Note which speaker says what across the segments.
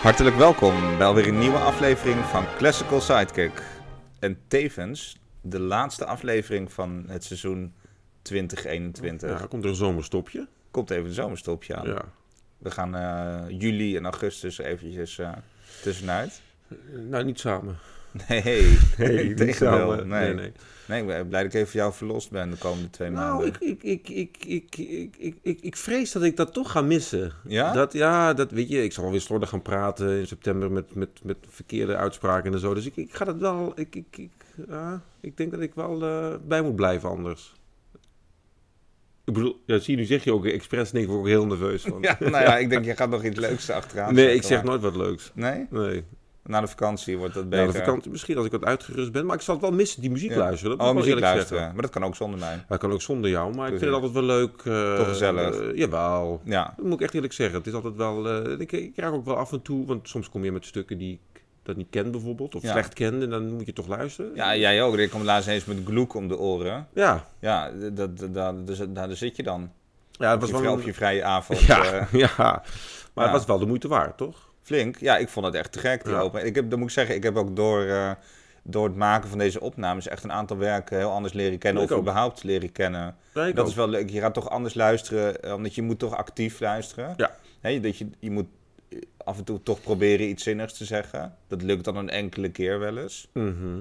Speaker 1: Hartelijk welkom bij alweer een nieuwe aflevering van Classical Sidekick. En tevens de laatste aflevering van het seizoen 2021.
Speaker 2: Ja, komt er een zomerstopje?
Speaker 1: Komt even een zomerstopje aan.
Speaker 2: Ja.
Speaker 1: We gaan eh, juli en augustus eventjes eh, tussenuit.
Speaker 2: Nou, niet samen.
Speaker 1: Nee,
Speaker 2: Nee, niet
Speaker 1: tegendeel.
Speaker 2: samen.
Speaker 1: Nee. Nee, ik ben blij dat ik even jou verlost ben de komende twee
Speaker 2: Nou,
Speaker 1: maanden.
Speaker 2: ik, ik, ik, ik, ik, ik, ik, ik, ik vrees dat ik dat toch ga missen.
Speaker 1: Ja?
Speaker 2: Dat, ja, dat weet je, ik zal weer slordig gaan praten in september met, met, met verkeerde uitspraken en zo. Dus ik, ik ga dat wel, ik, ik, ik, ja, ik denk dat ik wel eh, bij moet blijven anders. Ik bedoel, ja, zie je, nu zeg je ook expres niks, word ik ook heel nerveus van.
Speaker 1: Ja, nou ja, ik denk, je gaat nog iets leuks achteraan.
Speaker 2: nee,
Speaker 1: zetten,
Speaker 2: ik zeg
Speaker 1: maar-
Speaker 2: nooit wat leuks.
Speaker 1: Nee?
Speaker 2: Nee.
Speaker 1: Na de vakantie wordt dat
Speaker 2: Nou,
Speaker 1: beter.
Speaker 2: de vakantie, misschien als ik wat uitgerust ben, maar ik zal het wel missen, die muziek
Speaker 1: Ja.
Speaker 2: luisteren. Dat
Speaker 1: Oh,
Speaker 2: moet ik
Speaker 1: muziek
Speaker 2: wel eerlijk
Speaker 1: luisteren.
Speaker 2: zeggen.
Speaker 1: Maar dat kan ook zonder mij.
Speaker 2: Dat kan ook zonder jou, maar ik vind
Speaker 1: Precies.
Speaker 2: het altijd wel leuk. eh,
Speaker 1: Toch gezellig.
Speaker 2: eh, jawel.
Speaker 1: Ja,
Speaker 2: Dat moet ik echt eerlijk zeggen. Het is altijd wel. eh, ik, ik raak ook wel af en toe, want soms kom je met stukken die ik dat niet ken, bijvoorbeeld, of
Speaker 1: Ja.
Speaker 2: slecht ken, en dan moet je toch luisteren.
Speaker 1: ja jij ook. Ik kwam laatst eens met gloek om de oren.
Speaker 2: ja.
Speaker 1: Ja, dat, dat, dat, dus, daar, daar zit je dan.
Speaker 2: ja het
Speaker 1: Op
Speaker 2: was
Speaker 1: je, vrij-
Speaker 2: wel.
Speaker 1: op je vrije avond.
Speaker 2: ja,
Speaker 1: eh,
Speaker 2: ja, maar
Speaker 1: ja.
Speaker 2: het was wel de moeite waard, toch?
Speaker 1: flink. Ja, ik vond het echt te gek, die
Speaker 2: Ja.
Speaker 1: open. Ik heb, dan moet ik zeggen, ik heb ook door, eh, door het maken van deze opnames echt een aantal werken heel anders leren kennen.
Speaker 2: Ik
Speaker 1: of
Speaker 2: ook.
Speaker 1: überhaupt leren kennen.
Speaker 2: Ja, ik
Speaker 1: dat
Speaker 2: ook.
Speaker 1: is wel leuk. Je gaat toch anders luisteren, eh, omdat je moet toch actief luisteren.
Speaker 2: Ja.
Speaker 1: Hè, dat je, je moet eh, af en toe toch proberen iets zinnigs te zeggen. Dat lukt dan een enkele keer wel eens.
Speaker 2: Mhm.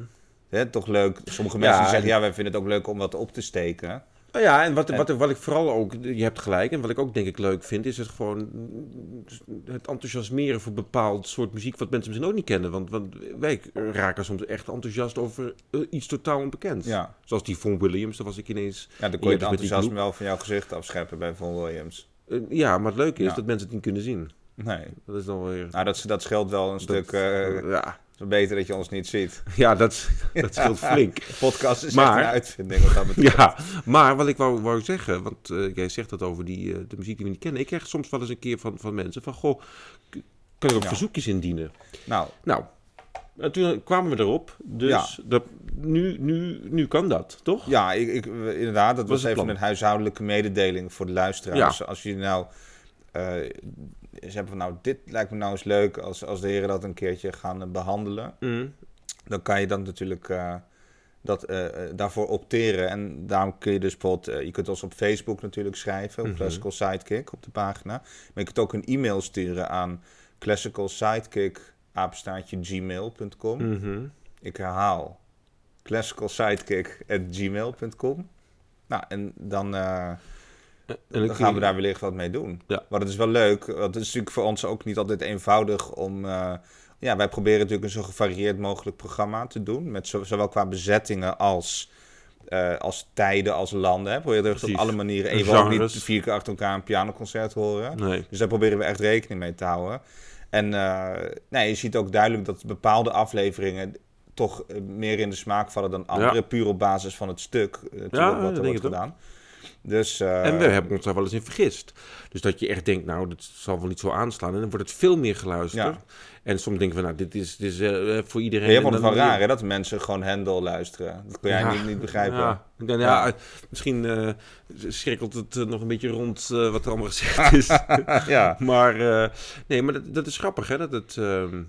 Speaker 1: Hè, toch leuk. Sommige
Speaker 2: Ja,
Speaker 1: mensen
Speaker 2: en-
Speaker 1: zeggen, ja, wij vinden het ook leuk om wat op te steken.
Speaker 2: Nou ja, en wat,
Speaker 1: En-
Speaker 2: Wat, wat ik vooral ook, je hebt gelijk, en wat ik ook denk ik leuk vind, is het gewoon mm, het enthousiasmeren voor bepaald soort muziek wat mensen misschien ook niet kennen. Want, want wij raken soms echt enthousiast over eh, iets totaal onbekends.
Speaker 1: Ja,
Speaker 2: Zoals die Von Williams, daar was ik ineens...
Speaker 1: ja dan
Speaker 2: Je
Speaker 1: kon je
Speaker 2: hebt
Speaker 1: het
Speaker 2: dus met die
Speaker 1: enthousiasme
Speaker 2: gloek-
Speaker 1: wel van jouw gezicht afscheppen bij Von Williams.
Speaker 2: eh, ja, maar het leuke is
Speaker 1: Ja.
Speaker 2: dat mensen het niet kunnen zien.
Speaker 1: Nee.
Speaker 2: Dat is dan weer...
Speaker 1: Nou, dat, dat scheelt wel een stuk... eh,
Speaker 2: ja,
Speaker 1: Het is beter dat je ons niet ziet.
Speaker 2: ja, dat, dat scheelt flink.
Speaker 1: De podcast is echt
Speaker 2: Maar-
Speaker 1: een uitvinding wat dat betreft.
Speaker 2: Ja, maar wat ik wou, wou zeggen, want eh, jij zegt dat over die, eh, de muziek die we niet kennen. Ik krijg soms wel eens een keer van, van mensen van, goh, k- kan ik ook
Speaker 1: Ja.
Speaker 2: verzoekjes indienen?
Speaker 1: Nou,
Speaker 2: Nou, en toen kwamen we erop, dus dat, nu, nu, nu kan dat, toch?
Speaker 1: ja, ik, ik, inderdaad, dat
Speaker 2: Dat
Speaker 1: was
Speaker 2: is het
Speaker 1: even
Speaker 2: plan.
Speaker 1: een huishoudelijke mededeling voor de luisteraars. Als jullie nou eh eens hebben van, nou, dit lijkt me nou eens leuk als, als de heren dat een keertje gaan eh, behandelen.
Speaker 2: Mm.
Speaker 1: Dan kan je dan natuurlijk eh, dat, eh, eh, daarvoor opteren. En daarom kun je dus bijvoorbeeld, eh, je kunt ons op Facebook natuurlijk schrijven, op
Speaker 2: Mhm.
Speaker 1: Classical Sidekick op de pagina. Maar je kunt ook een e-mail sturen aan classicalsidekick@gmail.com.
Speaker 2: Mhm.
Speaker 1: Ik herhaal. classicalsidekick.gmail.com Nou, en dan, eh,
Speaker 2: En
Speaker 1: dan gaan we daar wellicht wat mee doen.
Speaker 2: Ja.
Speaker 1: Maar dat is wel leuk. Want het is natuurlijk voor ons ook niet altijd eenvoudig om... eh, ja, wij proberen natuurlijk een zo gevarieerd mogelijk programma te doen. Met zo- zowel qua bezettingen als, eh, als tijden, als landen. Hè. Proberen we echt op
Speaker 2: Precies.
Speaker 1: alle manieren...
Speaker 2: En
Speaker 1: Even ook niet
Speaker 2: genres.
Speaker 1: vier keer achter elkaar een pianoconcert horen.
Speaker 2: Nee.
Speaker 1: Dus daar proberen we echt rekening mee te houden. En eh, nee, je ziet ook duidelijk dat bepaalde afleveringen toch eh, meer in de smaak vallen dan andere. Puur op basis van het stuk eh, natuurlijk
Speaker 2: Ja,
Speaker 1: wat
Speaker 2: ik
Speaker 1: er
Speaker 2: denk
Speaker 1: wordt
Speaker 2: het ook.
Speaker 1: gedaan. Dus, eh,
Speaker 2: En we hebben ons daar wel eens in vergist. Dus dat je echt denkt, nou, dat zal wel niet zo aanslaan. En dan wordt het veel meer geluisterd.
Speaker 1: Ja.
Speaker 2: En soms denken we, nou, dit is, dit is eh, eh, voor iedereen.
Speaker 1: Ja, jij
Speaker 2: En
Speaker 1: vond het
Speaker 2: dan-
Speaker 1: wel raar hè, dat mensen gewoon Handel luisteren. Dat kun jij
Speaker 2: Ja.
Speaker 1: niet, niet begrijpen.
Speaker 2: Ja, ik denk,
Speaker 1: Ja.
Speaker 2: ja. eh, misschien eh schrikkelt het eh, nog een beetje rond eh, wat er allemaal gezegd is.
Speaker 1: ja.
Speaker 2: maar eh, nee, maar dat, dat is grappig, hè? Dat het. ehm,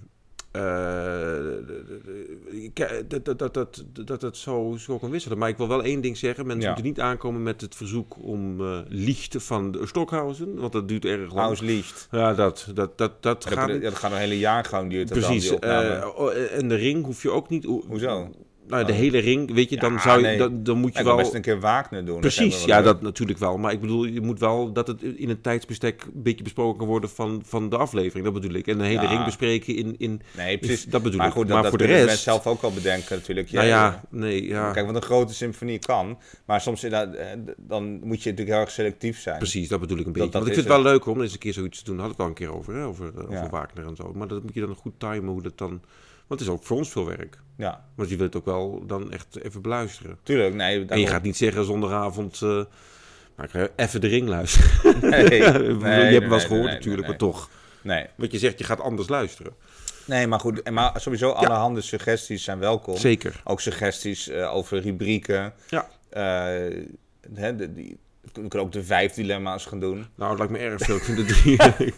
Speaker 2: eh, ik- dat, dat, dat, dat, dat het zo, zo kan wisselen. Maar ik wil wel één ding zeggen. Mensen
Speaker 1: Ja.
Speaker 2: moeten niet aankomen met het verzoek om eh lichten van de Stockhausen. Want dat duurt erg lang.
Speaker 1: House Licht.
Speaker 2: Ja, dat, dat, dat, dat
Speaker 1: Dat,
Speaker 2: gaat
Speaker 1: dat,
Speaker 2: niet.
Speaker 1: dat gaat een hele jaar gewoon duurt dat
Speaker 2: Precies.
Speaker 1: dan, die opname.
Speaker 2: eh, oh, eh, en de ring hoef je ook niet... o-
Speaker 1: Hoezo?
Speaker 2: Nou, de
Speaker 1: Oh.
Speaker 2: hele ring, weet je, dan,
Speaker 1: Ja,
Speaker 2: zou je,
Speaker 1: nee.
Speaker 2: dan, dan moet
Speaker 1: Ik
Speaker 2: je
Speaker 1: kan
Speaker 2: wel...
Speaker 1: best een keer Wagner doen. dat
Speaker 2: Precies,
Speaker 1: lijkt me
Speaker 2: ja,
Speaker 1: wel leuk.
Speaker 2: dat natuurlijk wel. Maar ik bedoel, je moet wel dat het in een tijdsbestek een beetje besproken kan worden van, van de aflevering. Dat bedoel ik. En de hele
Speaker 1: Ja.
Speaker 2: ring bespreken in... in
Speaker 1: Nee, precies.
Speaker 2: dat bedoel
Speaker 1: Maar
Speaker 2: ik.
Speaker 1: goed, dat,
Speaker 2: maar
Speaker 1: dat
Speaker 2: voor de
Speaker 1: kunnen
Speaker 2: rest...
Speaker 1: mensen zelf ook al bedenken natuurlijk.
Speaker 2: nou
Speaker 1: Jij-
Speaker 2: ja, nee, ja.
Speaker 1: Kijk, want een grote symfonie kan. Maar soms inderdaad, eh, d- dan moet je natuurlijk heel erg selectief zijn.
Speaker 2: Precies, dat bedoel ik een beetje.
Speaker 1: dat
Speaker 2: Want ik
Speaker 1: is
Speaker 2: vind het wel leuk hoor, om eens een keer zoiets te doen. Daar had ik al een keer over, hè, over, eh,
Speaker 1: Ja.
Speaker 2: over Wagner en zo. Maar dat moet je dan goed timen hoe dat dan... Want het is ook voor ons veel werk.
Speaker 1: Ja,
Speaker 2: Want je wilt het ook wel dan echt even beluisteren.
Speaker 1: tuurlijk. Nee,
Speaker 2: En je
Speaker 1: daarom-
Speaker 2: gaat niet zeggen zondagavond... eh, nou, ik ga even de ring luisteren.
Speaker 1: Nee, nee,
Speaker 2: je hebt
Speaker 1: nee,
Speaker 2: hem wel
Speaker 1: nee,
Speaker 2: eens gehoord
Speaker 1: nee,
Speaker 2: natuurlijk,
Speaker 1: nee,
Speaker 2: maar toch.
Speaker 1: Nee,
Speaker 2: Want je zegt, je gaat anders luisteren.
Speaker 1: nee maar goed. en Maar sowieso, allerhande suggesties zijn welkom.
Speaker 2: Zeker.
Speaker 1: Ook suggesties eh, over rubrieken.
Speaker 2: Ja.
Speaker 1: Eh, hè, de- die, We kunnen ook de vijf dilemma's gaan doen.
Speaker 2: Nou, het lijkt me erg veel. Ik vind de drie,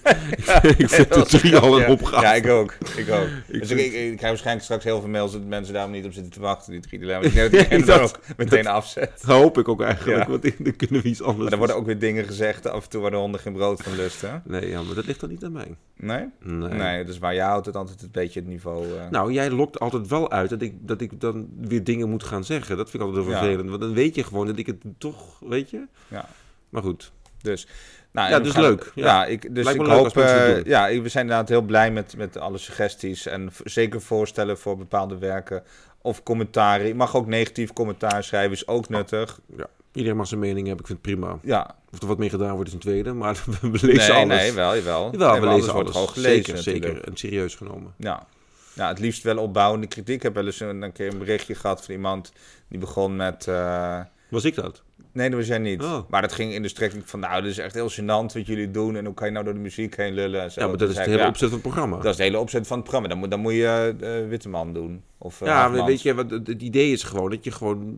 Speaker 2: ik vind de drie al een
Speaker 1: ja.
Speaker 2: opgave.
Speaker 1: Ja, ik ook. Ik ook.
Speaker 2: Ik
Speaker 1: dus
Speaker 2: vind-
Speaker 1: ik, ik, ik krijg waarschijnlijk straks heel veel mails dat mensen daarom niet op zitten te wachten, die drie dilemma's. Ik denk dat iedereen dat
Speaker 2: dat-
Speaker 1: ook meteen afzet.
Speaker 2: Dat hoop ik ook eigenlijk,
Speaker 1: Ja.
Speaker 2: want dan kunnen we iets anders.
Speaker 1: Maar er worden ook weer dingen gezegd af en toe waar de honden geen brood van lusten.
Speaker 2: Nee, ja, maar dat ligt dan niet aan mij.
Speaker 1: Nee?
Speaker 2: Nee.
Speaker 1: Nee, dus waar jij houdt het altijd een beetje het niveau... eh,
Speaker 2: Nou, jij lokt altijd wel uit dat ik, dat ik dan weer dingen moet gaan zeggen. Dat vind ik altijd heel
Speaker 1: Ja.
Speaker 2: vervelend. Want dan weet je gewoon dat ik het toch, weet je?
Speaker 1: Ja.
Speaker 2: Maar goed.
Speaker 1: Dus, nou,
Speaker 2: Ja,
Speaker 1: en we
Speaker 2: dus
Speaker 1: gaan-
Speaker 2: leuk.
Speaker 1: Ja,
Speaker 2: Ja.
Speaker 1: ik, dus
Speaker 2: Lijkt
Speaker 1: ik
Speaker 2: me leuk als
Speaker 1: hoop...
Speaker 2: mensen dat
Speaker 1: eh,
Speaker 2: doen.
Speaker 1: ja, ik- we zijn inderdaad heel blij met, met alle suggesties. En v- zeker voorstellen voor bepaalde werken of commentaren. Je mag ook negatief commentaar schrijven, is ook nuttig.
Speaker 2: Iedereen mag zijn mening hebben, ik vind het prima.
Speaker 1: Ja,
Speaker 2: Of er wat mee gedaan wordt is een tweede, maar we lezen
Speaker 1: nee,
Speaker 2: alles.
Speaker 1: nee, wel, jawel.
Speaker 2: Jawel,
Speaker 1: nee,
Speaker 2: we
Speaker 1: maar
Speaker 2: lezen
Speaker 1: wordt
Speaker 2: alles.
Speaker 1: gewoon gelezen
Speaker 2: zeker,
Speaker 1: natuurlijk.
Speaker 2: zeker. En serieus genomen.
Speaker 1: Ja. ja, het liefst wel opbouwende kritiek. Ik heb wel eens een, een keer een berichtje gehad van iemand die begon met... eh,
Speaker 2: Was ik dat?
Speaker 1: Nee, dat was jij niet.
Speaker 2: Oh.
Speaker 1: Maar dat ging in de strekking van, nou, dit is echt heel gênant wat jullie doen. En hoe kan je nou door de muziek heen lullen? En zo.
Speaker 2: ja, maar
Speaker 1: Toen
Speaker 2: dat is het
Speaker 1: zei ik,
Speaker 2: hele
Speaker 1: ja,
Speaker 2: opzet van het programma.
Speaker 1: Dat is de hele opzet van het programma. Dan moet, dan moet je eh eh, Witteman doen. Of, eh,
Speaker 2: ja,
Speaker 1: Haagmans.
Speaker 2: maar weet je, wat, het het idee is gewoon dat je gewoon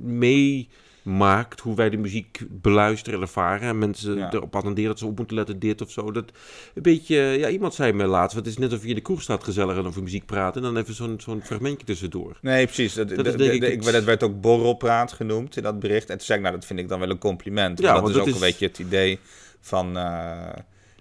Speaker 2: meemaakt hoe wij de muziek beluisteren en ervaren. En mensen
Speaker 1: Ja.
Speaker 2: erop attenderen dat ze op moeten letten, dit of zo. Dat een beetje, ja, iemand zei me laatst, het is net of je in de kroeg staat gezellig en over muziek praten. En dan even zo'n zo'n fragmentje tussendoor.
Speaker 1: Nee, precies. Dat, dat,
Speaker 2: is
Speaker 1: de-
Speaker 2: denk
Speaker 1: de-
Speaker 2: ik
Speaker 1: ik,
Speaker 2: het-
Speaker 1: dat werd ook borrelpraat genoemd in dat bericht. En toen zei ik, nou, dat vind ik dan wel een compliment.
Speaker 2: Ja,
Speaker 1: Ja, dat
Speaker 2: want
Speaker 1: is ook
Speaker 2: dat
Speaker 1: een
Speaker 2: is-
Speaker 1: beetje het idee van... eh,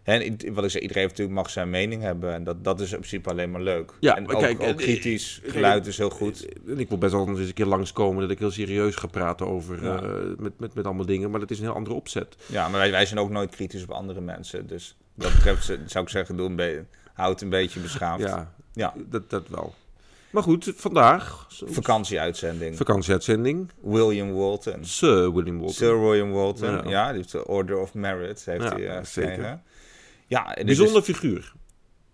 Speaker 1: hè, i- wat ik zei, iedereen heeft natuurlijk mag zijn mening hebben. En dat, dat is in principe alleen maar leuk.
Speaker 2: Ja,
Speaker 1: en
Speaker 2: maar
Speaker 1: ook,
Speaker 2: kijk,
Speaker 1: ook
Speaker 2: eh,
Speaker 1: kritisch
Speaker 2: kijk,
Speaker 1: geluid is heel goed.
Speaker 2: En ik wil best wel eens een keer langskomen dat ik heel serieus ga praten over
Speaker 1: Ja.
Speaker 2: eh, met, met, met allemaal dingen. Maar dat is een heel andere opzet.
Speaker 1: Ja, maar wij, wij zijn ook nooit kritisch op andere mensen. Dus dat betreft eh, zou ik zeggen, doe een be- houd een beetje beschaafd.
Speaker 2: Ja,
Speaker 1: Ja.
Speaker 2: Dat, dat wel. Maar goed, vandaag. zo-
Speaker 1: Vakantieuitzending.
Speaker 2: Vakantieuitzending.
Speaker 1: William Walton.
Speaker 2: Sir William Walton.
Speaker 1: Sir William Walton. Ja.
Speaker 2: Ja.
Speaker 1: die heeft de Order of Merit. Heeft
Speaker 2: Ja,
Speaker 1: hij, eh,
Speaker 2: zeker.
Speaker 1: gekregen. Ja, dus en dit is-
Speaker 2: Bijzonder figuur.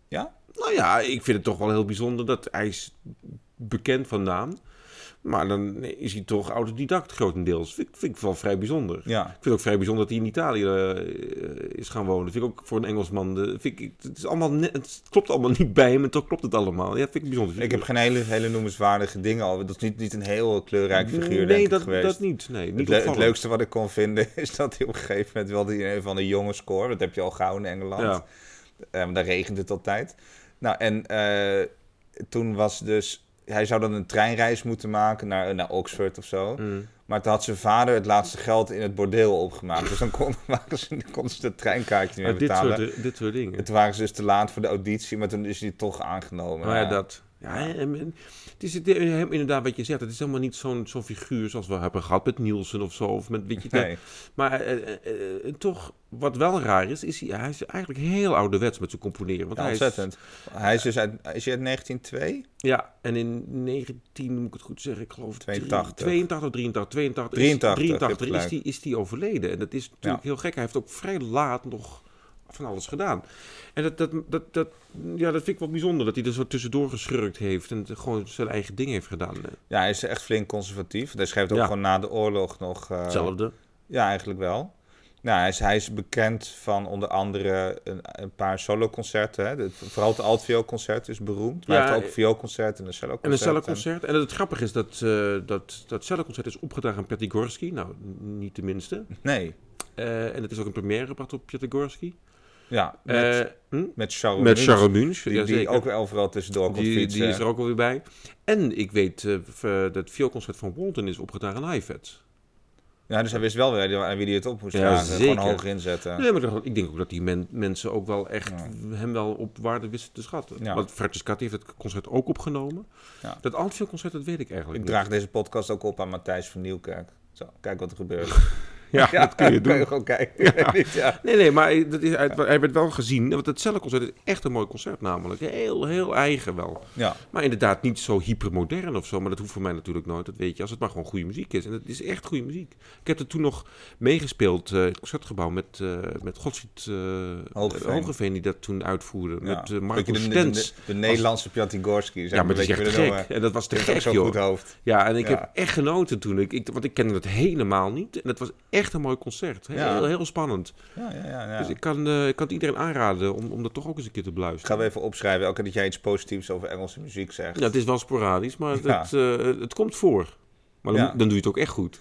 Speaker 1: Ja?
Speaker 2: Nou ja, ik vind het toch wel heel bijzonder dat hij is bekend van naam. Maar dan is hij toch autodidact grotendeels. Vind, ik- vind ik wel vrij bijzonder.
Speaker 1: ja.
Speaker 2: Ik vind het ook vrij bijzonder dat hij in Italië eh, is gaan wonen. Vind ik ook voor een Engelsman. eh, vind ik, het, is allemaal net- het klopt allemaal niet bij hem en toch klopt het allemaal. Ja, vind ik een bijzonder.
Speaker 1: Ik heb geen hele, hele noemenswaardige dingen al. Dat is niet, niet een heel kleurrijk figuur,
Speaker 2: nee,
Speaker 1: denk ik,
Speaker 2: dat,
Speaker 1: geweest.
Speaker 2: dat niet. Nee,
Speaker 1: het,
Speaker 2: niet
Speaker 1: le- het
Speaker 2: opvallend.
Speaker 1: leukste wat ik kon vinden is dat hij op een gegeven moment wilde hij een van de jonge score. Dat heb je al gauw in Engeland.
Speaker 2: Ja.
Speaker 1: Eh, want daar regent het altijd. Nou, en eh, toen was dus... Hij zou dan een treinreis moeten maken naar, eh, naar Oxford of zo.
Speaker 2: Mm.
Speaker 1: Maar toen had zijn vader het laatste geld in het bordeel opgemaakt. Dus dan kon- waren ze- dan konden ze de treinkaartje meer
Speaker 2: Maar dit,
Speaker 1: betalen.
Speaker 2: soort, eh, dit soort dingen.
Speaker 1: En toen waren ze dus te laat voor de auditie, maar toen is hij toch aangenomen.
Speaker 2: Maar Oh
Speaker 1: Ja.
Speaker 2: ja, dat. Ja, en- en het is het- eh, inderdaad wat je zegt. Het is helemaal niet zo'n zo'n figuur zoals we hebben gehad met Nielsen of zo. Of met, weet je, dat-
Speaker 1: Nee.
Speaker 2: Maar eh, eh, eh, toch, wat wel raar is, is hij, hij is eigenlijk heel ouderwets met zijn componeren. Want
Speaker 1: Ja,
Speaker 2: hij is-
Speaker 1: ontzettend. Hij is dus uit, is hij uit 1902?
Speaker 2: ja, en in 19, moet ik het goed zeggen, ik geloof... drie-
Speaker 1: 82.
Speaker 2: 82, 83, 82.
Speaker 1: 83,
Speaker 2: is,
Speaker 1: je
Speaker 2: 83
Speaker 1: hebt
Speaker 2: is, die, is die overleden. En dat is natuurlijk heel gek. Hij heeft ook vrij laat nog van alles gedaan. En dat, dat, dat, dat, ja, dat vind ik wel bijzonder, dat hij er zo tussendoor geschurkt heeft. En het gewoon zijn eigen ding heeft gedaan. Eh,
Speaker 1: Ja, hij is echt flink conservatief. Hij schrijft ook
Speaker 2: Ja.
Speaker 1: gewoon na de oorlog nog. eh,
Speaker 2: Hetzelfde.
Speaker 1: ja, eigenlijk wel. Nou, hij is, hij is bekend van onder andere een, een paar soloconcerten. hè. De- Vooral het altvioolconcert is beroemd. Maar
Speaker 2: Ja,
Speaker 1: hij heeft ook een
Speaker 2: eh,
Speaker 1: vioolconcert en een celloconcert.
Speaker 2: En een cellenconcert. En het grappige is dat eh dat, dat cellenconcert is opgedragen aan Pettigorski. Nou, n- niet de minste.
Speaker 1: En- Nee,
Speaker 2: Eh, en het is ook een première gebracht op Pettigorski.
Speaker 1: ja. Met,
Speaker 2: Eh, hm?
Speaker 1: met Charles
Speaker 2: Met
Speaker 1: Munch,
Speaker 2: Charles Munch,
Speaker 1: Die,
Speaker 2: ja,
Speaker 1: die
Speaker 2: zeker.
Speaker 1: ook weer overal tussendoor komt
Speaker 2: die,
Speaker 1: fietsen.
Speaker 2: die is er ook alweer bij. En ik weet eh, v- eh, dat vioolconcert van Walton is opgedragen aan Heifetz.
Speaker 1: Ja, dus hij wist wel weer aan wie hij het op moest
Speaker 2: Ja,
Speaker 1: dragen. Gewoon
Speaker 2: zeker.
Speaker 1: hoger inzetten.
Speaker 2: Nee, maar dat- ik denk ook dat die men- mensen ook wel echt
Speaker 1: Ja.
Speaker 2: hem wel op waarde wisten te schatten.
Speaker 1: Ja.
Speaker 2: Want Francescatti heeft het concert ook opgenomen.
Speaker 1: Ja.
Speaker 2: Dat altvioolconcert, dat weet ik eigenlijk
Speaker 1: Ik
Speaker 2: niet.
Speaker 1: draag deze podcast ook op aan Matthijs van Nieuwkerk. Zo, kijk wat er gebeurt.
Speaker 2: Ja, dat kun je
Speaker 1: kan
Speaker 2: doen.
Speaker 1: gewoon kijken. Niet, ja.
Speaker 2: Nee, nee, maar dat is, hij, hij werd wel gezien. Want het cellenconcert is echt een mooi concert namelijk. Heel, heel eigen wel.
Speaker 1: Ja.
Speaker 2: Maar inderdaad niet zo hypermodern of zo. Maar dat hoeft voor mij natuurlijk nooit. Dat weet je, als het maar gewoon goede muziek is. En het is echt goede muziek. Ik heb er toen nog meegespeeld, eh, in het concertgebouw, met, eh met Godfried eh,
Speaker 1: Hogeveen.
Speaker 2: Hogeveen die dat toen uitvoerde. Met eh, Marco
Speaker 1: Beetje de, de, de,
Speaker 2: Stens.
Speaker 1: de Nederlandse Piatigorski.
Speaker 2: Ja, maar dat is echt te gek. En dat was te
Speaker 1: Die heeft ook
Speaker 2: gek,
Speaker 1: zo'n
Speaker 2: joh.
Speaker 1: goed hoofd.
Speaker 2: Ja, en ik
Speaker 1: Ja.
Speaker 2: heb echt genoten toen. Ik, ik, want ik kende dat helemaal niet. En het was echt een mooi concert. Heel,
Speaker 1: Ja.
Speaker 2: heel spannend.
Speaker 1: Ja, ja, ja. ja.
Speaker 2: Dus ik kan, eh, ik kan het iedereen aanraden om, om dat toch ook eens een keer te
Speaker 1: Ik ga
Speaker 2: beluisteren.
Speaker 1: we even opschrijven, elke keer dat jij iets positiefs over Engelse muziek zegt.
Speaker 2: Ja, het is wel sporadisch, maar
Speaker 1: Ja.
Speaker 2: het, eh, het komt voor. Maar dan,
Speaker 1: Ja.
Speaker 2: dan doe je het ook echt goed.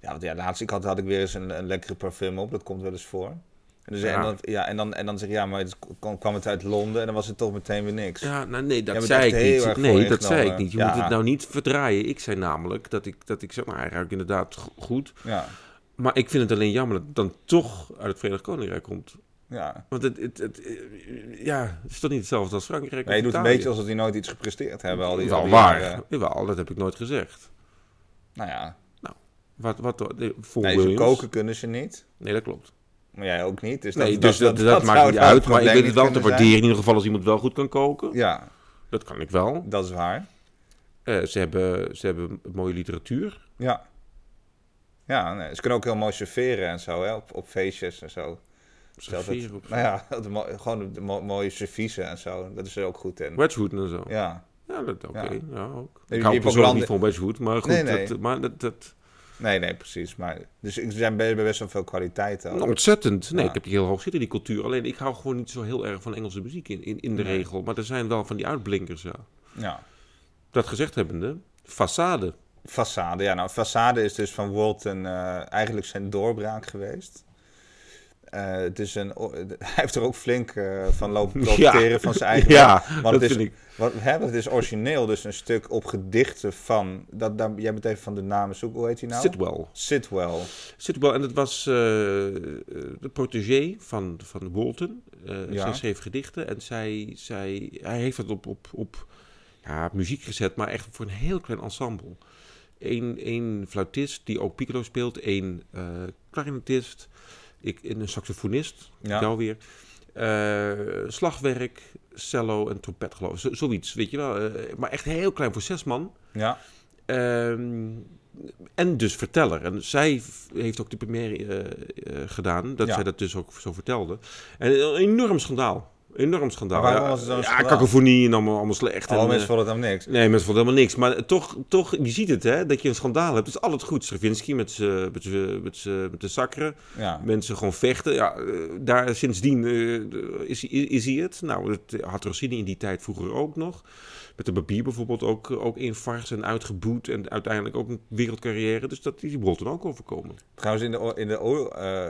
Speaker 1: Ja, want ja, laatst ik had, had ik weer eens een, een lekkere parfum op. Dat komt wel eens voor. En, dus,
Speaker 2: Ja.
Speaker 1: en, dan, ja, en, dan, en dan zeg je, ja, maar het kwam, kwam het uit Londen en dan was het toch meteen weer niks.
Speaker 2: Ja, nou nee,
Speaker 1: Jij
Speaker 2: dat
Speaker 1: bent
Speaker 2: zei
Speaker 1: echt heel
Speaker 2: ik niet.
Speaker 1: erg
Speaker 2: Nee, dat
Speaker 1: vooringenomen.
Speaker 2: zei ik niet. Je moet
Speaker 1: Ja.
Speaker 2: het nou niet verdraaien. Ik zei namelijk dat ik, dat ik zeg, nou, hij ruikt inderdaad go- goed.
Speaker 1: Ja,
Speaker 2: Maar ik vind het alleen jammer dat het dan toch uit het Verenigd Koninkrijk komt.
Speaker 1: ja.
Speaker 2: Want het, het, het, eh, ja, het is toch niet hetzelfde als Frankrijk?
Speaker 1: Maar je
Speaker 2: of
Speaker 1: doet een
Speaker 2: Italië?
Speaker 1: beetje alsof die nooit iets gepresteerd hebben. Al die, al
Speaker 2: Wel
Speaker 1: die
Speaker 2: waar.
Speaker 1: jaren.
Speaker 2: Jawel, dat heb ik nooit gezegd.
Speaker 1: Nou ja,
Speaker 2: Wat, wat, nee, voor
Speaker 1: nee, ze
Speaker 2: Williams?
Speaker 1: koken kunnen ze niet.
Speaker 2: Nee, dat klopt.
Speaker 1: Maar jij ook niet. Dus dat,
Speaker 2: nee, dus dat, dat, maakt
Speaker 1: zou
Speaker 2: niet
Speaker 1: het
Speaker 2: uit. Maar ik
Speaker 1: probleem
Speaker 2: weet het wel te
Speaker 1: kunnen zijn.
Speaker 2: waarderen in ieder geval als iemand wel goed kan koken.
Speaker 1: Ja,
Speaker 2: Dat kan ik wel.
Speaker 1: dat is waar.
Speaker 2: Eh, ze, hebben, ze hebben mooie literatuur.
Speaker 1: Ja. Ja, nee, ze kunnen ook heel mooi serveren en zo, hè, op, op feestjes en zo. Stelt het-
Speaker 2: Serveren op-
Speaker 1: nou ja, de mo- gewoon de mo- mooie serviezen en zo. Dat is er ook goed in.
Speaker 2: Wedgwood en zo.
Speaker 1: Ja.
Speaker 2: Ja, dat oké.
Speaker 1: Ja.
Speaker 2: Ja. ook.
Speaker 1: je
Speaker 2: Ik hou
Speaker 1: hebt ook
Speaker 2: persoonlijk
Speaker 1: landen-
Speaker 2: niet van Westwood, maar goed.
Speaker 1: Nee, nee.
Speaker 2: Dat, maar dat, dat,
Speaker 1: Nee, nee, precies. Maar, dus er zijn be- best wel veel kwaliteiten. ook.
Speaker 2: Nou, ontzettend. Nee,
Speaker 1: Ja.
Speaker 2: ik heb die heel hoog zitten, die cultuur. Alleen ik hou gewoon niet zo heel erg van Engelse muziek in, in, in de
Speaker 1: Nee.
Speaker 2: regel. Maar er zijn wel van die uitblinkers, ja.
Speaker 1: Ja.
Speaker 2: Dat gezegd hebbende, façade.
Speaker 1: Façade, ja. Nou, façade is dus van Walton eh, eigenlijk zijn doorbraak geweest. Eh, het is een, o- hij heeft er ook flink eh, van lopen profiteren van zijn eigen
Speaker 2: Ja,
Speaker 1: Want
Speaker 2: dat
Speaker 1: het is-
Speaker 2: vind ik.
Speaker 1: Wat, hè, want het is origineel dus een stuk op gedichten van... Dat, daar, jij bent even van de namen zoeken. Hoe heet hij nou?
Speaker 2: Sitwell.
Speaker 1: Sitwell.
Speaker 2: Sitwell, en dat was eh, de protégé van, van Walton. Eh,
Speaker 1: Ja.
Speaker 2: Zij schreef gedichten en zij, zij, hij heeft dat op, op, op ja, muziek gezet, maar echt voor een heel klein ensemble. Eén één fluitist die ook piccolo speelt, één eh clarinetist, ik, en een saxofonist,
Speaker 1: Ja.
Speaker 2: jou weer. Eh, slagwerk, cello en trompet geloof ik, Zo- zoiets, weet je wel. Eh, maar echt heel klein voor zes man.
Speaker 1: Ja.
Speaker 2: Ehm, en dus verteller. En zij v- heeft ook de première eh, eh, gedaan, dat
Speaker 1: Ja.
Speaker 2: zij dat dus ook zo vertelde. En eh, een enorm schandaal. Enorm schandaal.
Speaker 1: Maar waarom
Speaker 2: ja,
Speaker 1: was het dan een
Speaker 2: ja,
Speaker 1: schandaal?
Speaker 2: cacophonie en allemaal, allemaal slecht.
Speaker 1: Alle
Speaker 2: en,
Speaker 1: mensen
Speaker 2: eh,
Speaker 1: vonden het hem niks.
Speaker 2: Nee, mensen vonden helemaal niks. Maar toch, toch, je ziet het, hè, dat je een schandaal hebt. Het is altijd goed. Stravinsky met, z'n- met, z'n- met, z'n- met de sakkeren.
Speaker 1: Ja.
Speaker 2: Mensen gewoon vechten. Ja, eh, daar, sindsdien eh, de- is, is, is hij het. Nou, het had Rossini in die tijd vroeger ook nog. Met de barbier bijvoorbeeld ook, eh, ook invars en uitgeboet. En uiteindelijk ook een wereldcarrière. Dus dat is die Bolton ook overkomen.
Speaker 1: Trouwens, in de, oor- in de oorlog... eh,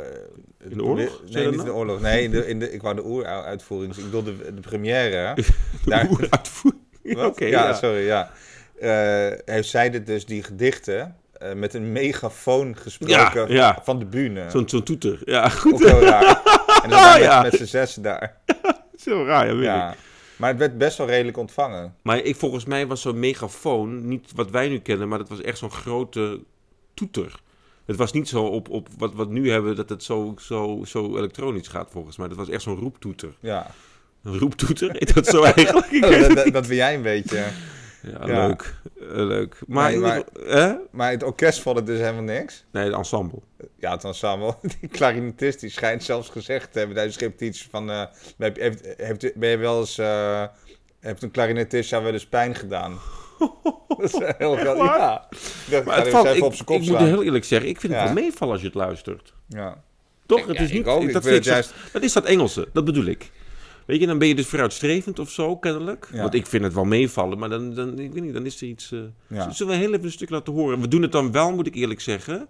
Speaker 2: In de oorlog? Zei
Speaker 1: Nee,
Speaker 2: dat
Speaker 1: niet in de
Speaker 2: nou?
Speaker 1: oorlog. Nee, in de, in de, ik wou de oeruitvoering. Ik bedoel de, de première. Daar-
Speaker 2: Hoe uitvoer- Oké,
Speaker 1: Wat? ja,
Speaker 2: ja.
Speaker 1: sorry, ja. Eh, heeft zij dit dus, die gedichten, eh, met een megafoon gesproken
Speaker 2: Ja, ja.
Speaker 1: van de bühne.
Speaker 2: Zo'n zo'n toeter. Ja,
Speaker 1: Ook heel raar. En dan zijn we
Speaker 2: Ja.
Speaker 1: met z'n zes daar.
Speaker 2: zo raar, ja, weet ik.
Speaker 1: Ja. Maar het werd best wel redelijk ontvangen.
Speaker 2: Maar ik, volgens mij was zo'n megafoon niet wat wij nu kennen, maar dat was echt zo'n grote toeter. Het was niet zo op, op wat we nu hebben, dat het zo, zo, zo elektronisch gaat volgens mij. Dat was echt zo'n roeptoeter.
Speaker 1: Ja.
Speaker 2: Een roeptoeter? Heet dat zo eigenlijk? Ik weet
Speaker 1: Oh, Dat,
Speaker 2: het
Speaker 1: dat,
Speaker 2: niet.
Speaker 1: dat ben jij een beetje.
Speaker 2: ja,
Speaker 1: ja.
Speaker 2: leuk. Eh, leuk. Maar,
Speaker 1: Nee,
Speaker 2: in
Speaker 1: maar-
Speaker 2: ieder geval- hè?
Speaker 1: Maar het orkest vond het dus helemaal niks.
Speaker 2: Nee, het ensemble.
Speaker 1: Ja, het ensemble. Die clarinetist die schijnt zelfs gezegd te hebben tijdens de repetitie van... eh, heb- heeft, heeft, ben je wel eens... eh, heeft een clarinetist jou wel eens pijn gedaan? dat is heel groot. Ja. Ik dacht,
Speaker 2: Maar
Speaker 1: ik
Speaker 2: het
Speaker 1: ga eens
Speaker 2: valt, ik,
Speaker 1: even op zijn kop
Speaker 2: ik moet
Speaker 1: slaan.
Speaker 2: heel eerlijk zeggen, ik vind het
Speaker 1: Ja.
Speaker 2: wel meevallen als je het luistert.
Speaker 1: Ja.
Speaker 2: Toch? Het
Speaker 1: Ja,
Speaker 2: is
Speaker 1: ik
Speaker 2: niet,
Speaker 1: ook. Ik
Speaker 2: dat,
Speaker 1: vind
Speaker 2: vind ik
Speaker 1: het
Speaker 2: zo- dat is dat Engelse, dat bedoel ik. Weet je, dan ben je dus vooruitstrevend of zo, kennelijk.
Speaker 1: Ja.
Speaker 2: Want ik vind het wel meevallen, maar dan, dan, ik weet niet, dan is er iets... eh,
Speaker 1: Ja.
Speaker 2: Zullen we heel even een stuk laten horen? We doen het dan wel, moet ik eerlijk zeggen.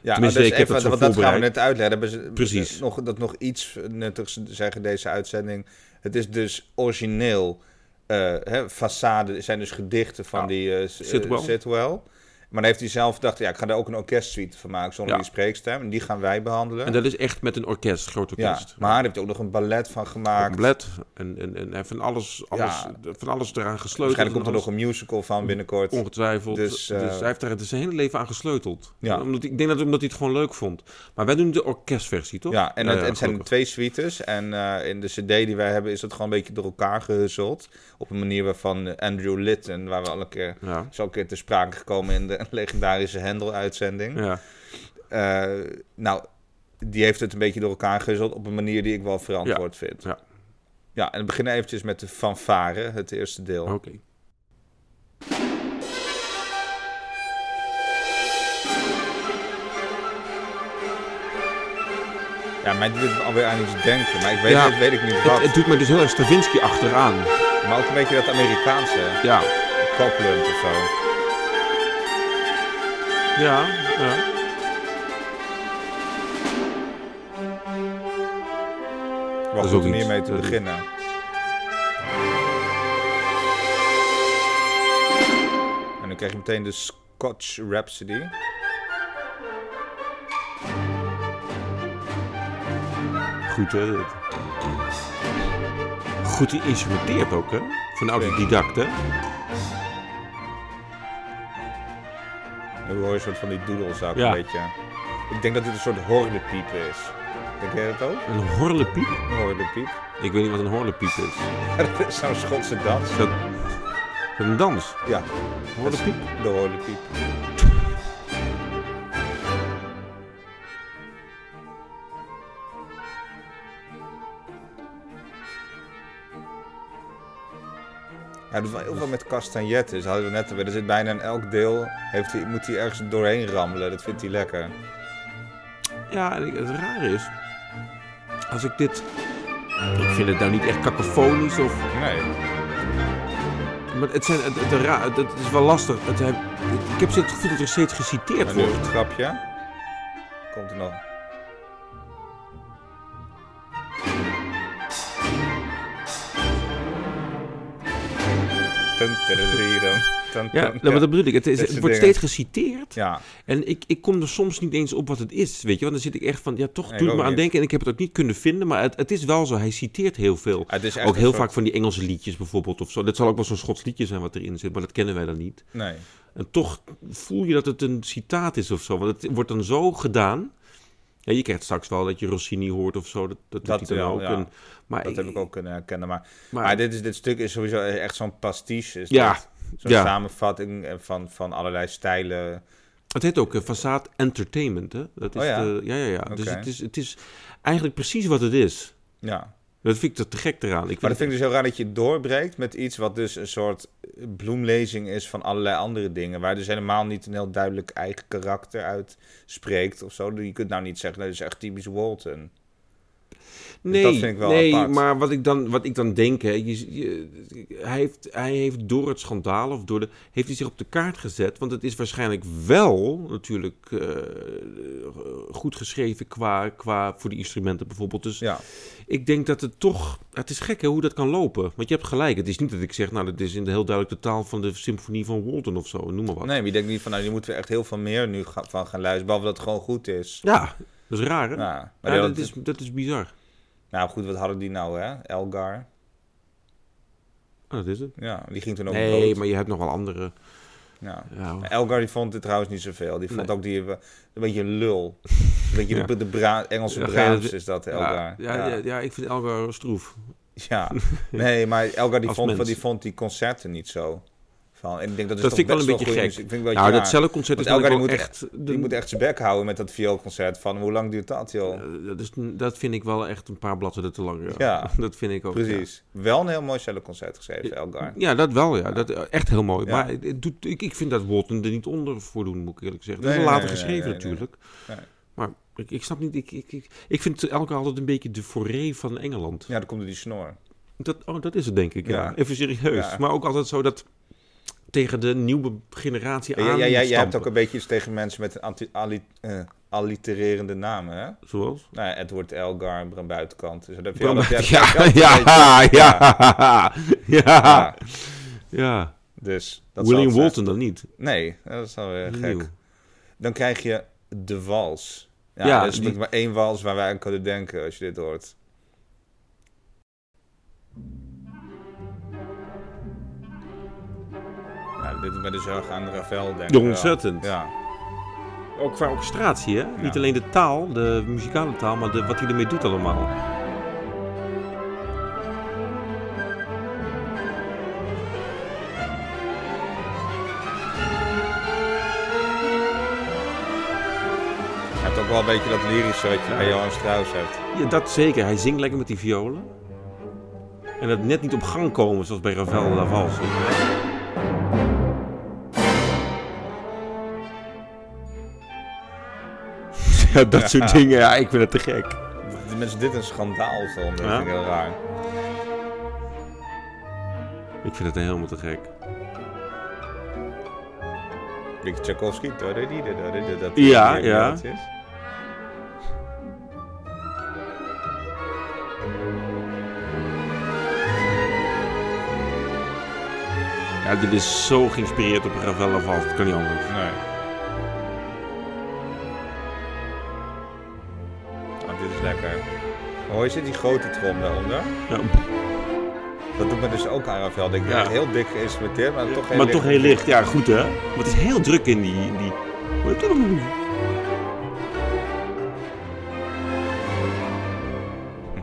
Speaker 1: Ja,
Speaker 2: Tenminste,
Speaker 1: dus
Speaker 2: ik heb
Speaker 1: even-
Speaker 2: het zo
Speaker 1: want dat gaan we
Speaker 2: voorbereid.
Speaker 1: net uitleggen. Hebben ze-
Speaker 2: Precies.
Speaker 1: Nog, dat nog iets nuttigs zeggen, deze uitzending. Het is dus origineel. eh hè, façade zijn dus gedichten van
Speaker 2: Ja.
Speaker 1: die eh, s- eh,
Speaker 2: Sitwell.
Speaker 1: Sitwell. Maar dan heeft hij zelf gedacht, ja, ik ga daar ook een orkestsuite van maken zonder
Speaker 2: Ja.
Speaker 1: die spreekstem. En die gaan wij behandelen.
Speaker 2: En dat is echt met een orkest, groot
Speaker 1: ja,
Speaker 2: orkest.
Speaker 1: maar hij heeft ook nog een ballet van gemaakt.
Speaker 2: Compleet. En, en, en, en van, alles, alles,
Speaker 1: Ja.
Speaker 2: van alles eraan gesleuteld.
Speaker 1: Waarschijnlijk komt er
Speaker 2: en
Speaker 1: nog
Speaker 2: alles
Speaker 1: een musical van binnenkort.
Speaker 2: Ongetwijfeld.
Speaker 1: Dus,
Speaker 2: Dus,
Speaker 1: eh,
Speaker 2: hij heeft daar zijn hele leven aan gesleuteld.
Speaker 1: Ja.
Speaker 2: Omdat, ik denk dat omdat hij het gewoon leuk vond. Maar wij doen de orkestversie, toch?
Speaker 1: Ja, en het, het zijn
Speaker 2: gelukkig.
Speaker 1: twee suites. En eh, in de CD die wij hebben is dat gewoon een beetje door elkaar gehusseld. Op een manier waarvan eh, Andrew Litton, waar we al een keer,
Speaker 2: Ja.
Speaker 1: is al een keer te sprake gekomen in de legendarische Hendel-uitzending.
Speaker 2: Ja.
Speaker 1: Eh, nou, die heeft het een beetje door elkaar gehusseld op een manier die ik wel verantwoord vind.
Speaker 2: Ja.
Speaker 1: Ja, en we beginnen eventjes met de fanfare, het eerste deel.
Speaker 2: Oké.
Speaker 1: Ja, mij doet het alweer aan iets denken, maar ik weet,
Speaker 2: Ja.
Speaker 1: het, weet ik niet wat.
Speaker 2: Het, het doet me dus heel erg Stravinsky achteraan.
Speaker 1: Maar ook een beetje dat Amerikaanse,
Speaker 2: Ja.
Speaker 1: koppelend of zo.
Speaker 2: Ja. ja.
Speaker 1: Wel
Speaker 2: is
Speaker 1: goed
Speaker 2: ook
Speaker 1: om
Speaker 2: iets.
Speaker 1: hiermee te
Speaker 2: Dat is-
Speaker 1: beginnen. En dan krijg je meteen de Scotch Rhapsody.
Speaker 2: Goed, hè? dit. Goed geïnstrumenteerd ook, hè? Van autodidact, hè?
Speaker 1: Nu hoor je een soort van die doodles ook
Speaker 2: Ja.
Speaker 1: een beetje. Ik denk dat dit een soort horlepiep is. Denk jij dat ook?
Speaker 2: Een horlepiep?
Speaker 1: Een horlepiep?
Speaker 2: Ik weet niet wat een horlepiep is.
Speaker 1: dat is zo'n Schotse dans.
Speaker 2: Is dat is dat een dans?
Speaker 1: Ja,
Speaker 2: Horlepiep?
Speaker 1: de horlepiep. Ja, dat is wel heel veel met castagnettes. Hadden we net over. Er zit bijna in elk deel. Heeft hij, moet hij ergens doorheen rammelen. Dat vindt hij lekker.
Speaker 2: Ja, en ik- het rare is... Als ik dit... Ik vind het nou niet echt kakofonisch of...
Speaker 1: Nee.
Speaker 2: Maar het, zijn, het, het, ra- het- het is wel lastig. Het, heb- ik heb het gevoel dat er steeds geciteerd
Speaker 1: En nu
Speaker 2: wordt.
Speaker 1: het grapje. Komt er nog. Dun, tadadadadum, dun,
Speaker 2: Ja,
Speaker 1: dun.
Speaker 2: nou, maar dat bedoel ik. Het, is,
Speaker 1: Dat
Speaker 2: het
Speaker 1: soort
Speaker 2: wordt
Speaker 1: dingen.
Speaker 2: steeds geciteerd.
Speaker 1: Ja,
Speaker 2: En ik, ik kom er soms niet eens op wat het is, weet je. Want dan zit ik echt van, ja, toch
Speaker 1: Nee,
Speaker 2: doe
Speaker 1: ook
Speaker 2: ik maar aan
Speaker 1: niet.
Speaker 2: denken. En ik heb het ook niet kunnen vinden. Maar het, het is wel zo. Hij citeert heel veel.
Speaker 1: het is echt
Speaker 2: Ook
Speaker 1: een
Speaker 2: heel
Speaker 1: soort-
Speaker 2: vaak van die Engelse liedjes bijvoorbeeld of zo. Dat zal ook wel zo'n Schots liedje zijn wat erin zit, maar dat kennen wij dan niet.
Speaker 1: Nee.
Speaker 2: En toch voel je dat het een citaat is of zo. Want het wordt dan zo gedaan. Ja, je krijgt straks wel dat je Rossini hoort of zo. Dat, dat,
Speaker 1: Dat
Speaker 2: doet hij dan
Speaker 1: wel,
Speaker 2: ook.
Speaker 1: ja.
Speaker 2: En- maar
Speaker 1: Dat heb ik ook kunnen herkennen. Maar,
Speaker 2: maar-
Speaker 1: maar dit, is, dit stuk is sowieso echt zo'n pastiche. Is
Speaker 2: Ja,
Speaker 1: dat? Zo'n
Speaker 2: ja.
Speaker 1: samenvatting eh, van, van allerlei stijlen.
Speaker 2: Het heet ook eh, Facade Entertainment, hè? Dat is
Speaker 1: Oh ja.
Speaker 2: de, ja, ja, ja. Dus
Speaker 1: Oké.
Speaker 2: het is, het is eigenlijk precies wat het is.
Speaker 1: Ja.
Speaker 2: Dat vind ik er te gek eraan. Ik
Speaker 1: Maar dat
Speaker 2: vind
Speaker 1: vind ik dus heel raar dat je het doorbreekt met iets wat dus een soort bloemlezing is van allerlei andere dingen. Waar dus helemaal niet een heel duidelijk eigen karakter uit spreekt of zo. Je kunt nou niet zeggen, dat is echt typisch Walton.
Speaker 2: nee,
Speaker 1: dat vind ik wel
Speaker 2: nee,
Speaker 1: apart.
Speaker 2: maar wat ik dan, wat ik dan denk, hè, je, je- hij, heeft, hij heeft door het schandaal of door de, heeft hij zich op de kaart gezet. Want het is waarschijnlijk wel natuurlijk eh, goed geschreven qua, qua voor die instrumenten bijvoorbeeld. Dus
Speaker 1: Ja,
Speaker 2: ik denk dat het toch, het is gek hè, hoe dat kan lopen. Want je hebt gelijk. Het is niet dat ik zeg, nou, dat is in de heel duidelijk de taal van de symfonie van Walton of zo, noem maar wat.
Speaker 1: nee, maar je denkt niet van, nou, hier moeten we echt heel veel meer nu ga- van gaan luisteren. Behalve dat het gewoon goed is.
Speaker 2: Ja, dat is raar, hè? Ja,
Speaker 1: Ja, maar dat,
Speaker 2: dat, is, dat is bizar.
Speaker 1: Nou goed, wat hadden die nou, hè? Elgar.
Speaker 2: Ah, dat is het.
Speaker 1: Ja, die ging toen ook
Speaker 2: Nee,
Speaker 1: dood.
Speaker 2: maar je hebt nog wel andere.
Speaker 1: Ja.
Speaker 2: Ja,
Speaker 1: Elgar die vond dit trouwens niet zoveel. Die vond
Speaker 2: Nee.
Speaker 1: ook die eh, een beetje een lul. Een beetje
Speaker 2: Ja.
Speaker 1: de, de Bra- Engelse
Speaker 2: Ja, ga je
Speaker 1: Braams
Speaker 2: dat-
Speaker 1: is dat,
Speaker 2: ja,
Speaker 1: Elgar.
Speaker 2: ja, ja, ja, ik vind Elgar stroef.
Speaker 1: Ja, nee, maar Elgar die
Speaker 2: Als
Speaker 1: vond,
Speaker 2: mens.
Speaker 1: die vond die concerten niet zo. Van, en ik denk dat is
Speaker 2: Dat
Speaker 1: toch
Speaker 2: vind ik wel
Speaker 1: best
Speaker 2: een beetje
Speaker 1: goede
Speaker 2: gek.
Speaker 1: muziek. Ik vind het wel
Speaker 2: Nou, dat
Speaker 1: raar.
Speaker 2: cellenconcert is
Speaker 1: Want
Speaker 2: dan
Speaker 1: Elgar
Speaker 2: ook
Speaker 1: die
Speaker 2: wel
Speaker 1: moet
Speaker 2: echt...
Speaker 1: Die moet echt zijn bek houden met dat vioolconcert van hoe lang duurt dat, joh?
Speaker 2: eh, dat, is, dat vind ik wel echt een paar bladzijden te lang. Ja.
Speaker 1: Ja.
Speaker 2: Dat vind ik ook. ja.
Speaker 1: Precies. Wel een heel mooi cellenconcert geschreven, Elgar.
Speaker 2: Ja, dat wel, ja. Dat, eh, echt heel mooi.
Speaker 1: Ja.
Speaker 2: Maar het- het doet, ik, ik vind dat Walton er niet onder voor doen, moet ik eerlijk zeggen. Dat
Speaker 1: Nee,
Speaker 2: is wel
Speaker 1: nee,
Speaker 2: later
Speaker 1: nee,
Speaker 2: geschreven
Speaker 1: nee, nee,
Speaker 2: natuurlijk.
Speaker 1: nee. Nee.
Speaker 2: Maar ik, ik snap niet... Ik, ik, ik, ik vind Elgar altijd een beetje de foree van Engeland.
Speaker 1: Ja, dan komt er die snor.
Speaker 2: Dat, oh, dat is het denk ik, ja.
Speaker 1: Ja.
Speaker 2: Even serieus.
Speaker 1: Ja.
Speaker 2: Maar ook altijd zo dat tegen de nieuwe generatie
Speaker 1: Ja,
Speaker 2: aan
Speaker 1: ja, ja, jij hebt
Speaker 2: stampen.
Speaker 1: ook een beetje iets tegen mensen met een anti- alli- eh, allitererende namen, hè?
Speaker 2: Zoals?
Speaker 1: Nou, ja, Edward Elgar, Bram Buitenkant. Dus dat heb je
Speaker 2: Ja,
Speaker 1: al-
Speaker 2: ja,
Speaker 1: dat heb je
Speaker 2: ja,
Speaker 1: al-
Speaker 2: ja,
Speaker 1: Ja,
Speaker 2: ja, ja.
Speaker 1: Dus dat zal
Speaker 2: William
Speaker 1: het zijn.
Speaker 2: Walton dan niet.
Speaker 1: Nee, dat is alweer gek.
Speaker 2: Nieuw.
Speaker 1: Dan krijg je de wals. Ja,
Speaker 2: Ja,
Speaker 1: er is
Speaker 2: die-
Speaker 1: natuurlijk maar één wals waar wij aan kunnen denken als je dit hoort. Ja, dit doet mij dus heel erg aan Ravel denken.
Speaker 2: Ja, ontzettend.
Speaker 1: Ja.
Speaker 2: Ook qua orchestratie, hè? Niet alleen de taal, de muzikale taal, maar de, wat hij ermee doet allemaal.
Speaker 1: Hij heeft ook wel een beetje dat lyrische wat je bij Johan Strauss hebt.
Speaker 2: Ja, dat zeker. Hij zingt lekker met die violen. En dat net niet op gang komen, zoals bij Ravel en Lavals. Ja, dat soort dingen. Ja, ik vind het te gek.
Speaker 1: De mensen dit een schandaal vonden, dat
Speaker 2: Ja.
Speaker 1: vind ik heel raar.
Speaker 2: Ik vind het helemaal te gek.
Speaker 1: Ik Tchaikovsky, dat dat
Speaker 2: Ja,
Speaker 1: dat-
Speaker 2: ja.
Speaker 1: dat is.
Speaker 2: Ja, dit is zo geïnspireerd op Ravel of af. Het kan niet anders.
Speaker 1: Nee. Oh, dit is lekker. Hoor je zit die grote trom daaronder?
Speaker 2: Ja,
Speaker 1: Dat doet me dus ook aan Ravel. Ik
Speaker 2: Ja.
Speaker 1: ben heel dik geïnstrumenteerd, maar toch heel
Speaker 2: maar
Speaker 1: licht.
Speaker 2: toch heel licht. Ja, goed hè. Want het is heel druk in die... In die...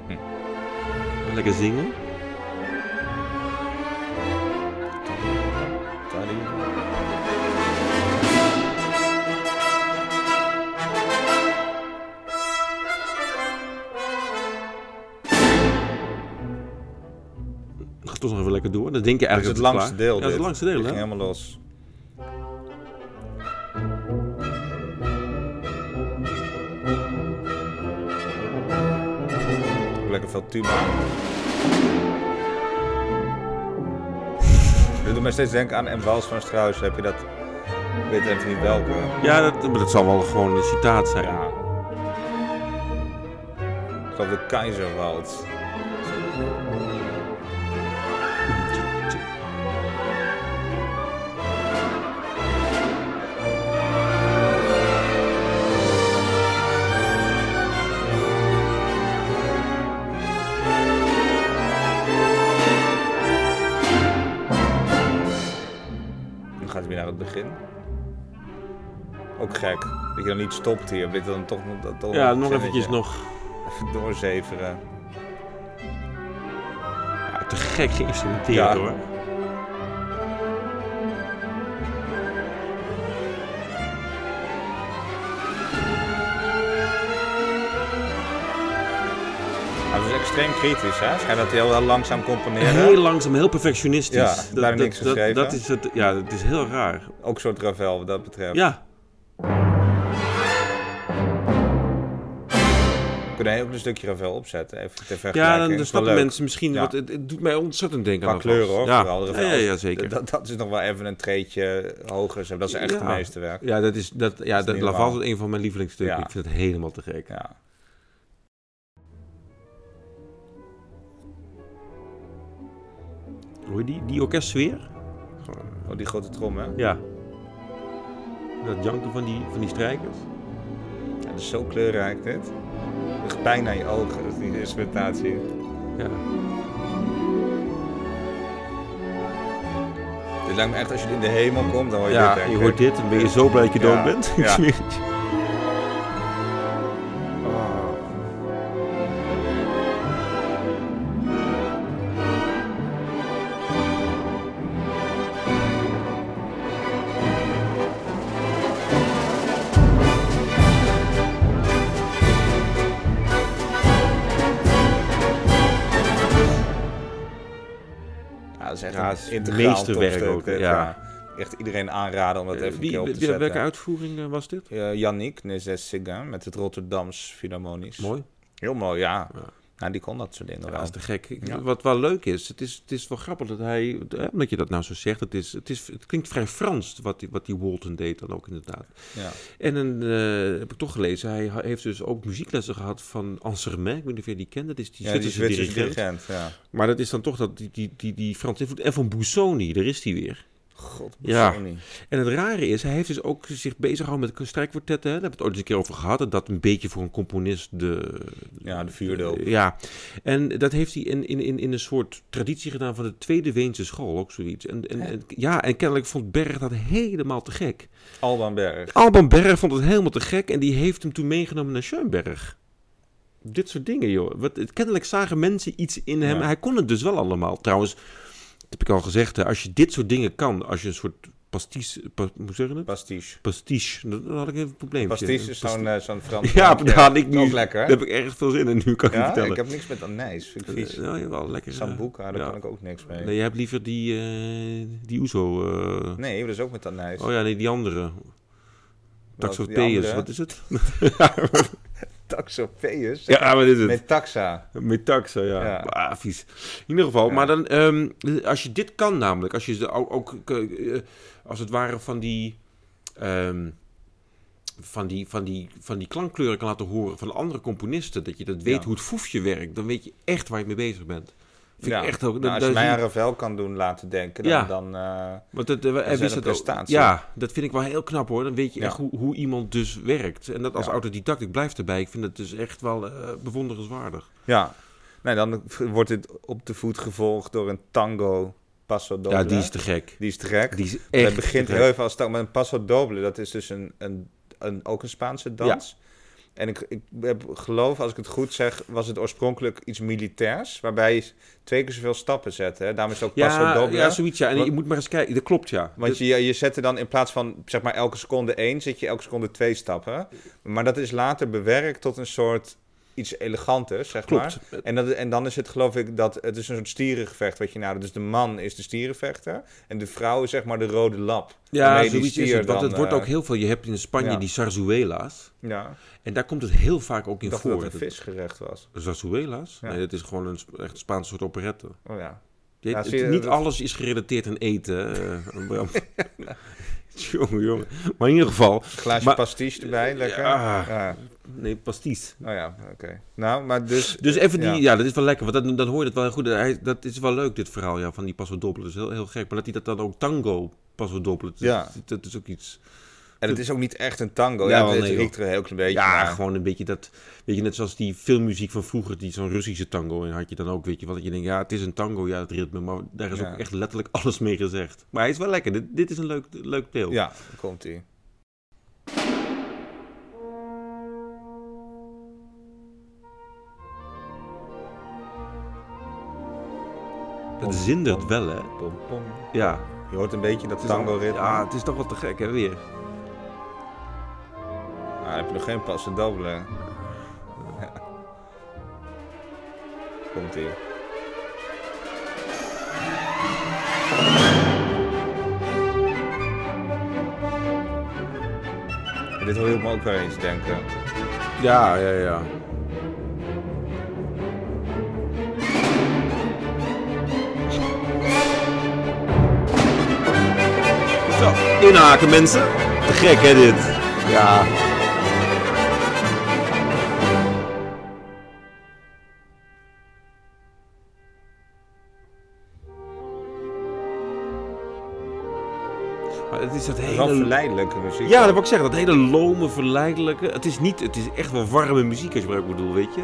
Speaker 2: Lekker zingen. Ga toch nog even lekker door. Dan denk je
Speaker 1: Dat is
Speaker 2: eigenlijk
Speaker 1: het
Speaker 2: dat
Speaker 1: langste
Speaker 2: klaar-
Speaker 1: deel.
Speaker 2: Ja, dat is het
Speaker 1: dit.
Speaker 2: langste deel
Speaker 1: Die
Speaker 2: hè.
Speaker 1: ging helemaal los. Lekker veel tuba. Dit doet mij steeds denken aan M. Wals van Strauss. Heb je dat? Ik weet even niet welke.
Speaker 2: Ja, dat, maar dat zal wel gewoon een citaat zijn.
Speaker 1: Ja. Ik geloof de Keizerwald. Dan gaat hij weer naar het begin. Ook gek. Dat je dan niet stopt hier. Weet je dan toch nog- dat, toch
Speaker 2: Ja,
Speaker 1: een
Speaker 2: nog
Speaker 1: zinnetje.
Speaker 2: eventjes nog
Speaker 1: Even doorzeveren.
Speaker 2: ja, te gek geïnstrumenteerd
Speaker 1: Ja.
Speaker 2: hoor.
Speaker 1: Hij was extreem kritisch, hè? Schijnt dat hij heel, heel langzaam componeren.
Speaker 2: Heel langzaam, heel perfectionistisch.
Speaker 1: Ja, bijna niks
Speaker 2: dat,
Speaker 1: geschreven.
Speaker 2: dat is het, ja, dat is heel raar.
Speaker 1: Ook een soort Ravel wat dat betreft.
Speaker 2: Ja,
Speaker 1: We kunnen hier ook een stukje Ravel opzetten. Even ter
Speaker 2: ja
Speaker 1: vergelijking.
Speaker 2: dan, dan
Speaker 1: Is wel
Speaker 2: snappen
Speaker 1: leuk.
Speaker 2: mensen misschien,
Speaker 1: Ja.
Speaker 2: wat, het, het doet mij ontzettend denken
Speaker 1: Qua
Speaker 2: aan dat
Speaker 1: kleuren
Speaker 2: vast.
Speaker 1: hoor.
Speaker 2: Ja,
Speaker 1: vooral
Speaker 2: ja,
Speaker 1: Ravel.
Speaker 2: ja, ja, zeker.
Speaker 1: Dat, dat is nog wel even een treetje hoger. zeg. Dat is echt
Speaker 2: Ja.
Speaker 1: het meesterwerk.
Speaker 2: ja, dat is, dat, ja,
Speaker 1: is
Speaker 2: dat
Speaker 1: niet
Speaker 2: Laval
Speaker 1: normaal.
Speaker 2: is een van mijn lievelingsstukken.
Speaker 1: Ja.
Speaker 2: Ik vind het helemaal te gek.
Speaker 1: Ja.
Speaker 2: Hoor je die, die orkestsfeer?
Speaker 1: Oh, die grote trom, hè?
Speaker 2: Ja. Dat janken van die, van die strijkers.
Speaker 1: Ja, dat is zo kleurrijk, dit. Echt pijn aan je ogen, dat is die instrumentatie.
Speaker 2: Ja.
Speaker 1: Oh, Dit lijkt me echt, als je in de hemel komt, dan hoor je
Speaker 2: ja,
Speaker 1: dit, denk
Speaker 2: je
Speaker 1: ik.
Speaker 2: hoort dit en ben je zo blij dat je
Speaker 1: Ja,
Speaker 2: dood bent.
Speaker 1: ja.
Speaker 2: Ik zweer het je.
Speaker 1: Oh. Ja, dat is echt
Speaker 2: Ja,
Speaker 1: een
Speaker 2: het is
Speaker 1: integraal
Speaker 2: meesterwerk
Speaker 1: topstuk,
Speaker 2: ook,
Speaker 1: dit,
Speaker 2: ja.
Speaker 1: Echt iedereen aanraden om dat
Speaker 2: Eh,
Speaker 1: even een
Speaker 2: wie,
Speaker 1: keer op te
Speaker 2: wie-
Speaker 1: zetten.
Speaker 2: welke uitvoering eh, was dit?
Speaker 1: Eh, Yannick Nezet-Séguin met het Rotterdams Philharmonisch.
Speaker 2: Mooi.
Speaker 1: Heel mooi, ja.
Speaker 2: Ja.
Speaker 1: Nou, die kon dat soort dingen
Speaker 2: Ja,
Speaker 1: wel.
Speaker 2: dat is te gek. Ik-
Speaker 1: Ja.
Speaker 2: Wat wel leuk is, het is, het is wel grappig dat hij, eh, omdat je dat nou zo zegt, het, is, het, is, het klinkt vrij Frans wat die, wat die Walton deed dan ook inderdaad.
Speaker 1: Ja.
Speaker 2: En dan eh, heb ik toch gelezen, hij ha- heeft dus ook muzieklessen gehad van Ansermet, ik weet niet of jij die kent, dat is die
Speaker 1: Ja, die
Speaker 2: Zwitserse
Speaker 1: Zwitserse
Speaker 2: dirigent.
Speaker 1: dirigent, ja.
Speaker 2: Maar dat is dan toch dat, die, die, die, die Franse invloed. En van Busoni, daar is hij weer.
Speaker 1: God,
Speaker 2: Ja.
Speaker 1: Busoni.
Speaker 2: En het rare is, hij heeft dus ook zich bezig gehouden met strijkkwartetten. Daar hebben we het ooit eens een keer over gehad. dat Dat een beetje voor een componist de...
Speaker 1: Ja, de vuurdoop.
Speaker 2: Eh, Ja. En dat heeft hij in, in, in, in een soort traditie gedaan van de Tweede Weense School. Ook zoiets. En, en, en- ja, en kennelijk vond Berg dat helemaal te gek.
Speaker 1: Alban Berg.
Speaker 2: Alban Berg vond het helemaal te gek. En die heeft hem toen meegenomen naar Schoenberg. Dit soort dingen, joh. Wat, kennelijk zagen mensen iets in hem.
Speaker 1: Ja.
Speaker 2: Hij kon het dus wel allemaal. Trouwens, dat heb ik al gezegd. Hè, als je dit soort dingen kan. Als je een soort pasties... pa- hoe zeg je het?
Speaker 1: Pastiche.
Speaker 2: Pastiche. Dan dan had ik even een probleem.
Speaker 1: Pastiche is zo'n eh, zo'n Frans.
Speaker 2: Ja,
Speaker 1: drankje.
Speaker 2: daar had ik nu...
Speaker 1: Ook lekker, hè?
Speaker 2: Daar heb ik erg veel zin in nu, kan ik je
Speaker 1: Ja,
Speaker 2: vertellen.
Speaker 1: ik heb niks met anijs. Vind ik vies.
Speaker 2: Eh, nou, jawel, lekker. eh,
Speaker 1: Sambuca, daar
Speaker 2: ja.
Speaker 1: ah, kan ik ook niks mee.
Speaker 2: Nee,
Speaker 1: Nee,
Speaker 2: jij hebt liever die... eh, die Oezo... eh,
Speaker 1: dat is ook met anijs.
Speaker 2: Oh ja, nee, die andere.
Speaker 1: die
Speaker 2: Taxopeus,
Speaker 1: andere?
Speaker 2: wat is het?
Speaker 1: Taxopeus?
Speaker 2: ja, ah, wat is het?
Speaker 1: Met taxa.
Speaker 2: Met taxa, ja.
Speaker 1: Ja.
Speaker 2: Ah, vies. In ieder geval,
Speaker 1: Ja.
Speaker 2: maar dan, ehm, als je dit kan namelijk, als je ze ook, ook, eh, eh, als het ware van die, ehm, van, die, van, die, van die klankkleuren kan laten horen van andere componisten, dat je dat weet
Speaker 1: Ja.
Speaker 2: hoe het foefje werkt, dan weet je echt waar je mee bezig bent. Vind
Speaker 1: Ja.
Speaker 2: ik echt ook. dat-
Speaker 1: Nou, als
Speaker 2: dat
Speaker 1: je
Speaker 2: is
Speaker 1: mij
Speaker 2: niet-
Speaker 1: aan Ravel kan doen laten denken, dan...
Speaker 2: Ja.
Speaker 1: dan eh,
Speaker 2: Want het, eh, hij
Speaker 1: is
Speaker 2: wist
Speaker 1: wel
Speaker 2: het
Speaker 1: een
Speaker 2: ook.
Speaker 1: prestatie.
Speaker 2: Ja, dat vind ik wel heel knap hoor. Dan weet je
Speaker 1: Ja.
Speaker 2: echt hoe, hoe iemand dus werkt. En dat als
Speaker 1: Ja.
Speaker 2: autodidact, ik blijf erbij. Ik vind het dus echt wel eh, bewonderenswaardig.
Speaker 1: ja. Nee, dan v- wordt dit op de voet gevolgd door een tango passo doble.
Speaker 2: Ja, die is te gek.
Speaker 1: Die is te gek.
Speaker 2: Die is echt
Speaker 1: Het begint
Speaker 2: te
Speaker 1: heel
Speaker 2: gek.
Speaker 1: even als tango. Maar een passo doble, dat is dus een, een, een, ook een Spaanse dans. En ik, ik heb, geloof, als ik het goed zeg, was het oorspronkelijk iets militairs. Waarbij je twee keer zoveel stappen zet. Hè? Daarom is het ook passo
Speaker 2: Ja,
Speaker 1: doble.
Speaker 2: ja, zoiets ja. En
Speaker 1: Wat-
Speaker 2: je moet maar eens kijken. Dat klopt ja.
Speaker 1: Want je, je zet er dan in plaats van zeg maar elke seconde één, zet je elke seconde twee stappen. Maar dat is later bewerkt tot een soort iets eleganter, zeg maar.
Speaker 2: klopt.
Speaker 1: En, dat, en dan is het geloof ik dat het is een soort stierengevecht wat je nadert. Dus de man is de stierenvechter en de vrouw is zeg maar de rode lap.
Speaker 2: Ja,
Speaker 1: waarmee die
Speaker 2: zoiets is
Speaker 1: stier
Speaker 2: het. Want
Speaker 1: dan,
Speaker 2: het wordt
Speaker 1: eh,
Speaker 2: ook heel veel. Je hebt in Spanje
Speaker 1: ja.
Speaker 2: die sarzuela's.
Speaker 1: Ja,
Speaker 2: En daar komt het heel vaak ook
Speaker 1: ik
Speaker 2: in
Speaker 1: dacht
Speaker 2: voor.
Speaker 1: dat het een visgerecht was.
Speaker 2: Zarzuela's?
Speaker 1: Ja.
Speaker 2: Nee, dat is gewoon een Sp- echt een Spaans soort operette.
Speaker 1: Oh ja.
Speaker 2: Je-
Speaker 1: Ja,
Speaker 2: het-
Speaker 1: zie je,
Speaker 2: niet
Speaker 1: dat-
Speaker 2: alles is gerelateerd aan eten, eh, Bram. jongen, jongen. Maar in ieder geval...
Speaker 1: Glaasje
Speaker 2: Maar-
Speaker 1: pastiche erbij, lekker.
Speaker 2: Ja.
Speaker 1: Ja.
Speaker 2: Nee, pasties.
Speaker 1: Oh ja, oké. Nou, maar dus...
Speaker 2: Dus even die...
Speaker 1: ja.
Speaker 2: Ja, dat is wel lekker. Want dat, dat hoor je dat wel goed. Hij, dat is wel leuk, dit verhaal ja, van die paso doppel. Dat is heel, heel gek. Maar dat hij dat dan ook tango paso doppel... Dat,
Speaker 1: Ja.
Speaker 2: dat, dat is ook iets...
Speaker 1: En het is ook niet echt een tango.
Speaker 2: Ja,
Speaker 1: Ja,
Speaker 2: wel,
Speaker 1: het
Speaker 2: nee,
Speaker 1: riekt er een heel klein beetje
Speaker 2: Ja,
Speaker 1: naar.
Speaker 2: gewoon een beetje dat... Weet je, net zoals die filmmuziek van vroeger. Die zo'n Russische tango. En had je dan ook, weet je. Want je denkt, ja, het is een tango. Ja, het ritme. Maar daar is
Speaker 1: Ja.
Speaker 2: ook echt letterlijk alles mee gezegd. Maar hij is wel lekker. Dit, dit is een leuk, leuk deel.
Speaker 1: Ja, daar komt ie.
Speaker 2: Dat zindert wel, hè?
Speaker 1: Pom, pom.
Speaker 2: Ja.
Speaker 1: Je hoort een beetje dat
Speaker 2: Het is al-
Speaker 1: tango-ritme.
Speaker 2: Ja, het is toch wel te gek, hè, weer.
Speaker 1: Ah, dan heb je nog geen passen dobbelen. Komt ie. Dit hoor je me ook wel eens denken.
Speaker 2: Ja, ja, ja. Zo, inhaken, mensen. Te gek, hè, dit. Ja. Maar het is dat
Speaker 1: Wel
Speaker 2: hele
Speaker 1: verleidelijke muziek.
Speaker 2: Ja, dat wil ik zeggen. Dat hele lome, verleidelijke. Het is niet, het is echt wel warme muziek als je maar ook bedoelt, weet je.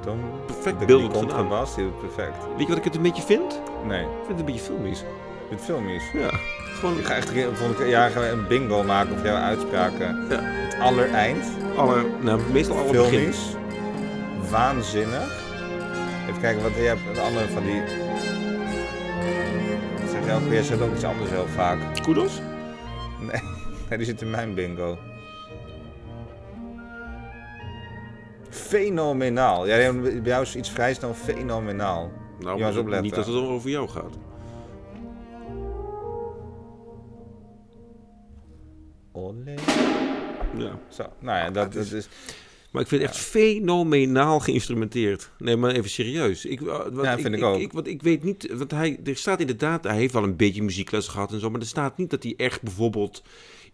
Speaker 1: Tom,
Speaker 2: Perfect
Speaker 1: de, Dus die
Speaker 2: beeldend gedaan.
Speaker 1: contrabas, die doet het perfect.
Speaker 2: Weet je wat ik het een beetje vind? Ik
Speaker 1: Nee,
Speaker 2: vind het een beetje filmisch.
Speaker 1: dit film is.
Speaker 2: Ja. Gewoon
Speaker 1: Ik ga echt een keer- volgende keer- ja, gaan we een bingo maken of jouw uitspraken.
Speaker 2: Ja.
Speaker 1: Het allereind.
Speaker 2: alle, nou, meestal alle begin.
Speaker 1: filmisch. Waanzinnig. Even kijken, wat jij hebt de andere van die. Dat Zeg jij ook, jij zegt ook iets anders heel vaak.
Speaker 2: Kudos?
Speaker 1: Nee, nee, die zit in mijn bingo. Fenomenaal. Ja, bij jou is iets vrij snel fenomenaal.
Speaker 2: Nou,
Speaker 1: Ja, eens opletten.
Speaker 2: niet dat het over jou gaat.
Speaker 1: Olé.
Speaker 2: Ja.
Speaker 1: Zo, nou ja,
Speaker 2: Ah,
Speaker 1: dat, dat is.
Speaker 2: Maar ik vind het echt fenomenaal geïnstrumenteerd. Nee, maar even serieus. Ik, eh, wat,
Speaker 1: Ja, vind ik ook.
Speaker 2: want ik weet niet, want hij, er staat inderdaad, hij heeft wel een beetje muziekles gehad en zo, maar er staat niet dat hij echt bijvoorbeeld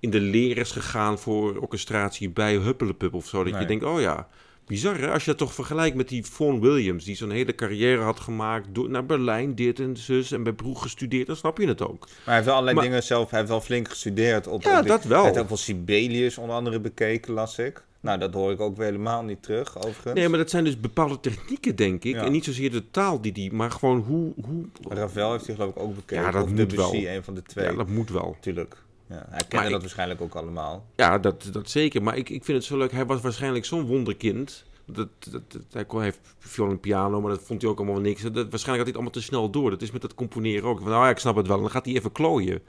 Speaker 2: in de leer is gegaan voor orchestratie bij Huppelepup of zo. Dat
Speaker 1: Nee.
Speaker 2: je denkt, oh ja, bizar hè? Als je dat toch vergelijkt met die Vaughan Williams, die zo'n hele carrière had gemaakt, door, naar Berlijn dit en zus en bij Broeg gestudeerd, dan snap je het ook.
Speaker 1: Maar hij heeft wel allerlei
Speaker 2: Maar-
Speaker 1: dingen zelf. Hij heeft wel flink gestudeerd op.
Speaker 2: Ja,
Speaker 1: op dit-
Speaker 2: dat wel.
Speaker 1: Hij heeft ook wel Sibelius onder andere bekeken, las ik. Nou, dat hoor ik ook weer helemaal niet terug, overigens.
Speaker 2: Nee, maar dat zijn dus bepaalde technieken, denk ik.
Speaker 1: Ja.
Speaker 2: En niet zozeer de taal die die, maar gewoon hoe... hoe
Speaker 1: Ravel heeft hij geloof ik ook bekeken.
Speaker 2: Ja, dat
Speaker 1: of
Speaker 2: moet
Speaker 1: Debussy,
Speaker 2: wel.
Speaker 1: een van de twee.
Speaker 2: ja, dat moet wel.
Speaker 1: Tuurlijk. Ja, hij kende
Speaker 2: Maar
Speaker 1: dat
Speaker 2: ik-
Speaker 1: waarschijnlijk ook allemaal.
Speaker 2: Ja, dat, dat zeker. Maar ik, ik vind het zo leuk. Hij was waarschijnlijk zo'n wonderkind. Dat, dat, dat- hij kon, hij heeft viool en piano, maar dat vond hij ook allemaal niks. Dat, waarschijnlijk had hij het allemaal te snel door. Dat is met dat componeren ook. Van, nou ja, ik snap het wel. En dan gaat hij even klooien.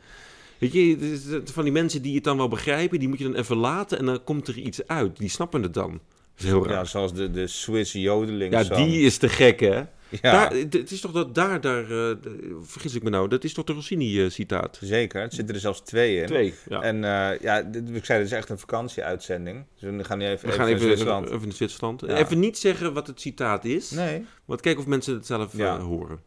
Speaker 2: Weet je, het is- het- van die mensen die het dan wel begrijpen, die moet je dan even laten. En dan komt er iets uit. Die snappen het dan. Dat is heel
Speaker 1: Ja,
Speaker 2: raar.
Speaker 1: zoals de, de Swiss jodeling.
Speaker 2: Ja,
Speaker 1: song.
Speaker 2: die is te gek, hè?
Speaker 1: Ja,
Speaker 2: Daar, het het is toch dat daar, daar eh, vergis ik me nou, dat is toch de Rossini-citaat?
Speaker 1: zeker. Er zitten er zelfs twee in.
Speaker 2: Twee, ja.
Speaker 1: En eh, ja, dit, ik zei, dit is echt een vakantieuitzending. Dus we gaan nu even,
Speaker 2: We gaan
Speaker 1: even
Speaker 2: even,
Speaker 1: naar Zwitserland.
Speaker 2: even in Zwitserland.
Speaker 1: Ja.
Speaker 2: Even niet zeggen wat het citaat is.
Speaker 1: Nee.
Speaker 2: Want kijk of mensen het zelf eh,
Speaker 1: Ja.
Speaker 2: horen.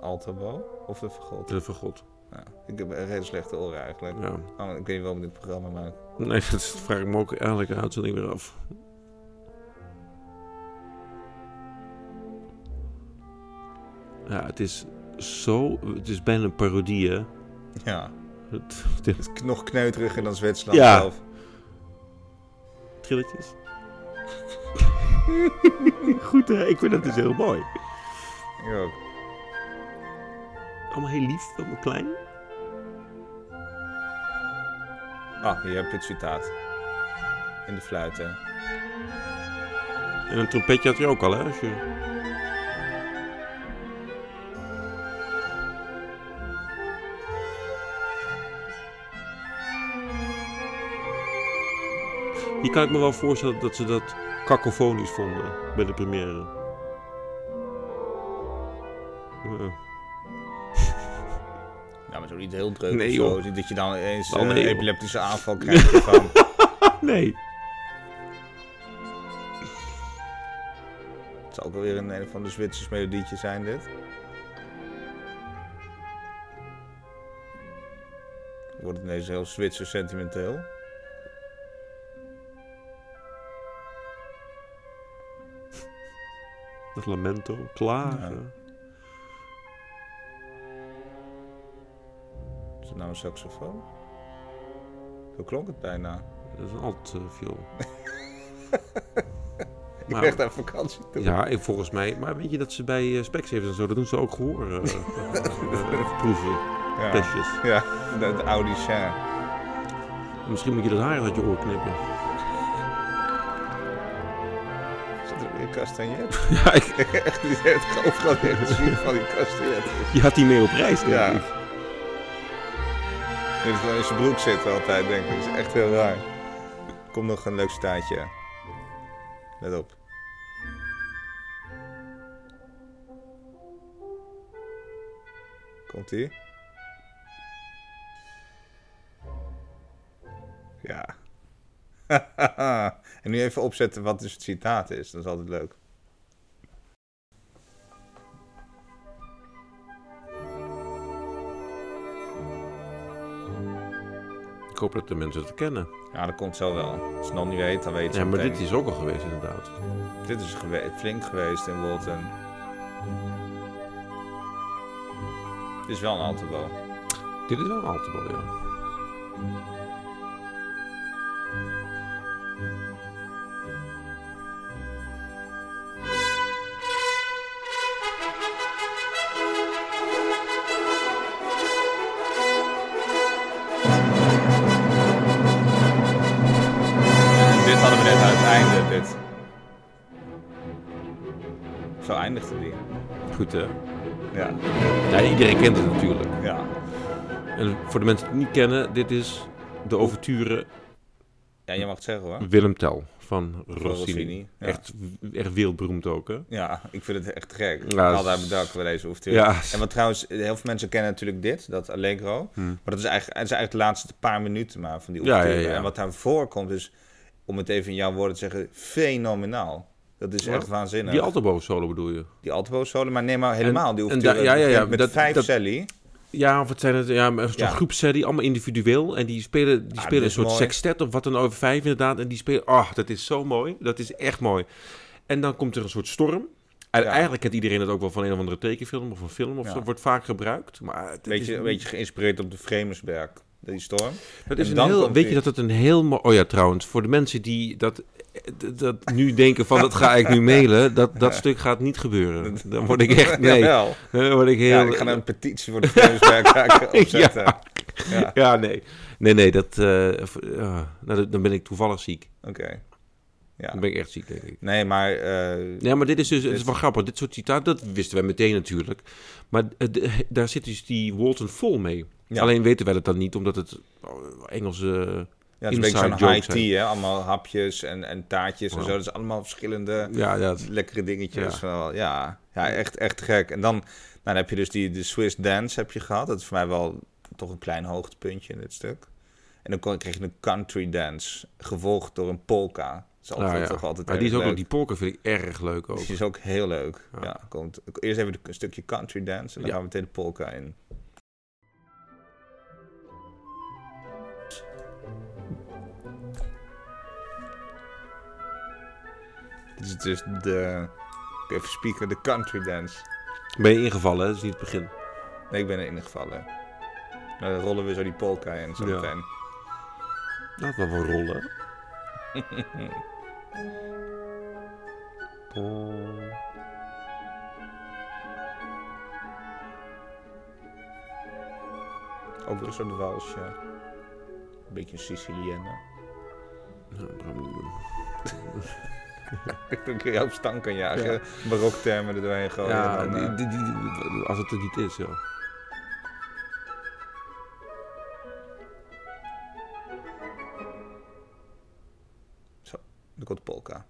Speaker 1: Altabo of de Vergot.
Speaker 2: Eh, Voor God.
Speaker 1: Ja, ik heb een hele slechte oren eigenlijk.
Speaker 2: Ja.
Speaker 1: Oh, ik weet niet waarom dit programma, maar...
Speaker 2: Nee, dat vraag ik me ook eigenlijk de uitzending weer af. Ja, het is zo... Het is bijna een parodie, hè?
Speaker 1: Ja.
Speaker 2: Het,
Speaker 1: Het is nog kneuteriger dan Zwitserland
Speaker 2: Ja.
Speaker 1: zelf.
Speaker 2: trilletjes. Goed, hè? Ik vind dat dus heel mooi.
Speaker 1: Ik ook.
Speaker 2: Allemaal heel lief, allemaal klein.
Speaker 1: Ah, hier heb je het citaat. In de fluit, hè.
Speaker 2: En een trompetje had je ook al, hè? Als je... Hier kan ik me wel voorstellen dat ze dat kakofonisch vonden bij de première. Ja.
Speaker 1: Nou, maar zo niet heel druk
Speaker 2: Nee,
Speaker 1: nee,
Speaker 2: joh.
Speaker 1: Dat je dan eens
Speaker 2: Oh,
Speaker 1: eh,
Speaker 2: nee,
Speaker 1: een
Speaker 2: joh.
Speaker 1: epileptische aanval krijgt ervan.
Speaker 2: Nee.
Speaker 1: Het zal ook wel weer een, een van de Zwitsers melodietje zijn, dit. Wordt het ineens heel Zwitsers sentimenteel.
Speaker 2: Dat lamento, klagen.
Speaker 1: Is dat nou een saxofoon? Zo klonk het bijna.
Speaker 2: Dat is een alt eh, viool.
Speaker 1: Ik ben echt aan vakantie toe.
Speaker 2: Ja, en volgens mij. Maar weet je dat ze bij eh, Specsavers en zo, dat doen ze ook gehoor. eh, eh, proeven,
Speaker 1: Ja,
Speaker 2: testjes.
Speaker 1: ja de, de Audi Share.
Speaker 2: Misschien moet je dat haar uit je oor knippen.
Speaker 1: Zit er weer kastanjet?
Speaker 2: Ja, ik,
Speaker 1: Echt niet, het overal weer het zuur van die kastanjet.
Speaker 2: je had die mee op reis, denk
Speaker 1: Ja.
Speaker 2: ik.
Speaker 1: Die heeft gewoon in zijn broek zitten altijd, denk ik. Dat is echt heel raar. Kom nog een leuk staartje. Let op. Komt ie? Ja. en nu even opzetten wat dus het citaat is. Dat is altijd leuk.
Speaker 2: Ik hoop dat de mensen het kennen.
Speaker 1: Ja, dat komt zo wel. Als je het nog niet weet, dan weet je
Speaker 2: Ja,
Speaker 1: het
Speaker 2: maar
Speaker 1: meteen.
Speaker 2: dit is ook al geweest, inderdaad.
Speaker 1: Dit is gewe- flink geweest in Walton. Dit is wel een Altebo.
Speaker 2: Dit is wel een altebal, ja.
Speaker 1: En dit hadden we net aan het einde. Dit. Zo eindigde die.
Speaker 2: Goed, hè?
Speaker 1: Ja.
Speaker 2: Ja, iedereen kent het natuurlijk.
Speaker 1: Ja.
Speaker 2: En voor de mensen die het niet kennen, dit is de overture
Speaker 1: Ja, je mag het zeggen hoor.
Speaker 2: Willem Tell van Rossini.
Speaker 1: Rossini, ja.
Speaker 2: Echt, echt wereldberoemd ook, hè?
Speaker 1: Ja, ik vind het echt gek. Ik
Speaker 2: Ja,
Speaker 1: haal daar
Speaker 2: s-
Speaker 1: bedankt bij deze oefening.
Speaker 2: Ja.
Speaker 1: En wat trouwens, heel veel mensen kennen natuurlijk dit, dat Allegro. Maar dat is eigenlijk, het zijn eigenlijk de laatste paar minuten maar van die
Speaker 2: Hmm. Ja,
Speaker 1: oefening.
Speaker 2: ja, ja.
Speaker 1: En wat daarvoor komt is, om het even in jouw woorden te zeggen, fenomenaal. Dat is
Speaker 2: Ja.
Speaker 1: echt waanzinnig.
Speaker 2: Die altebo solo bedoel je?
Speaker 1: Die altbo solo, maar nee, maar helemaal. die
Speaker 2: en
Speaker 1: oefening
Speaker 2: da- ja, ja, ja,
Speaker 1: met
Speaker 2: dat-
Speaker 1: vijf
Speaker 2: dat-
Speaker 1: celli.
Speaker 2: Ja, of het zijn het, ja, maar zo'n
Speaker 1: Ja.
Speaker 2: groep set die allemaal individueel en die spelen, die
Speaker 1: Ah,
Speaker 2: spelen
Speaker 1: dit
Speaker 2: een
Speaker 1: is
Speaker 2: soort
Speaker 1: mooi.
Speaker 2: sextet of wat dan over vijf inderdaad en die spelen, ah, dat is zo mooi, dat is echt mooi. En dan komt er een soort storm. En
Speaker 1: Ja.
Speaker 2: eigenlijk kent iedereen dat ook wel van een of andere tekenfilm of een film of
Speaker 1: Ja.
Speaker 2: zo, wordt vaak gebruikt. Maar het
Speaker 1: Weet je,
Speaker 2: is,
Speaker 1: weet je, geïnspireerd op de Vremersberg. Die storm.
Speaker 2: dat
Speaker 1: en
Speaker 2: is een
Speaker 1: dan
Speaker 2: heel,
Speaker 1: komt
Speaker 2: weet je
Speaker 1: die-
Speaker 2: dat het een heel mooi, oh ja, trouwens, voor de mensen die dat, dat, dat nu denken van, dat ga ik nu mailen, dat, dat stuk gaat niet gebeuren. Dan word ik echt, nee,
Speaker 1: Jawel.
Speaker 2: dan word ik heel...
Speaker 1: Ja, ik ga een petitie voor de Vremersberg raken opzetten.
Speaker 2: Ja.
Speaker 1: Ja.
Speaker 2: Ja, nee. Nee, nee, dat, eh, v- ja, nou, dat- dan ben ik toevallig ziek.
Speaker 1: Oké. Ja.
Speaker 2: Dan ben ik echt ziek, denk ik.
Speaker 1: Nee, maar... eh,
Speaker 2: Nee, maar dit is dus het is
Speaker 1: Dit-
Speaker 2: wel grappig. Dit soort citaten, dat wisten wij meteen natuurlijk. Maar eh, de- daar zit dus die Walton vol mee.
Speaker 1: Ja.
Speaker 2: Alleen weten wij dat dan niet, omdat het oh, Engelse...
Speaker 1: Ja, het is
Speaker 2: Inside
Speaker 1: een beetje zo'n
Speaker 2: joke
Speaker 1: high tea, hè? Allemaal hapjes en, en taartjes en
Speaker 2: Ja.
Speaker 1: zo. Dat is allemaal verschillende
Speaker 2: Ja, dat,
Speaker 1: lekkere dingetjes.
Speaker 2: Ja.
Speaker 1: Wel, Ja, ja echt, echt gek. En dan, nou, dan heb je dus die de Swiss dance heb je gehad. Dat is voor mij wel toch een klein hoogtepuntje in dit stuk. En dan kon- kreeg je een country dance, gevolgd door een polka. Dat is altijd,
Speaker 2: nou, ja.
Speaker 1: toch altijd
Speaker 2: Maar die is
Speaker 1: erg
Speaker 2: ook nog,
Speaker 1: leuk.
Speaker 2: die polka vind ik erg leuk ook.
Speaker 1: Dus Die is ook heel leuk.
Speaker 2: Ja.
Speaker 1: Ja. komt, eerst even een stukje country dance en dan
Speaker 2: Ja.
Speaker 1: gaan we meteen de polka in. Dit is dus de... ik Even spieken, de country dance.
Speaker 2: Ben je ingevallen, hè? dat is niet het begin.
Speaker 1: Nee, ik ben er ingevallen. Nou, dan rollen we zo die polka en zo
Speaker 2: Ja.
Speaker 1: meteen.
Speaker 2: Laat wel wel rollen. Pom.
Speaker 1: Ook weer zo'n wals, ja. Een beetje een Sicilienne.
Speaker 2: Nou, Bram, die-
Speaker 1: Dan kun je op stang kan jagen.
Speaker 2: Ja.
Speaker 1: Baroktermen er doorheen gooien.
Speaker 2: ja,
Speaker 1: dan, eh,
Speaker 2: die- die- die- als het er niet is, ja.
Speaker 1: dan komt de polka.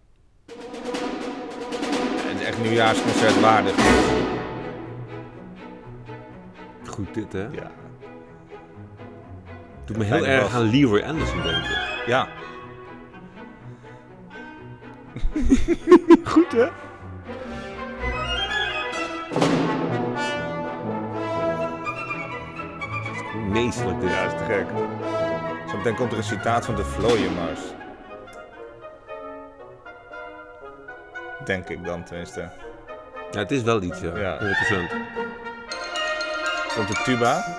Speaker 1: Het is echt nieuwjaarsconcert waardig.
Speaker 2: Goed dit, hè?
Speaker 1: Ja.
Speaker 2: Doet me heel
Speaker 1: Fijne
Speaker 2: erg
Speaker 1: bas.
Speaker 2: aan Leroy Anderson denken.
Speaker 1: Ja.
Speaker 2: Goed, hè? Meestelijk dit.
Speaker 1: Ja, is te gek. Zometeen komt er een citaat van de Vlooienmars. Denk ik dan tenminste.
Speaker 2: Ja, het is wel iets, ja.
Speaker 1: Ja.
Speaker 2: 100%.
Speaker 1: Komt de tuba.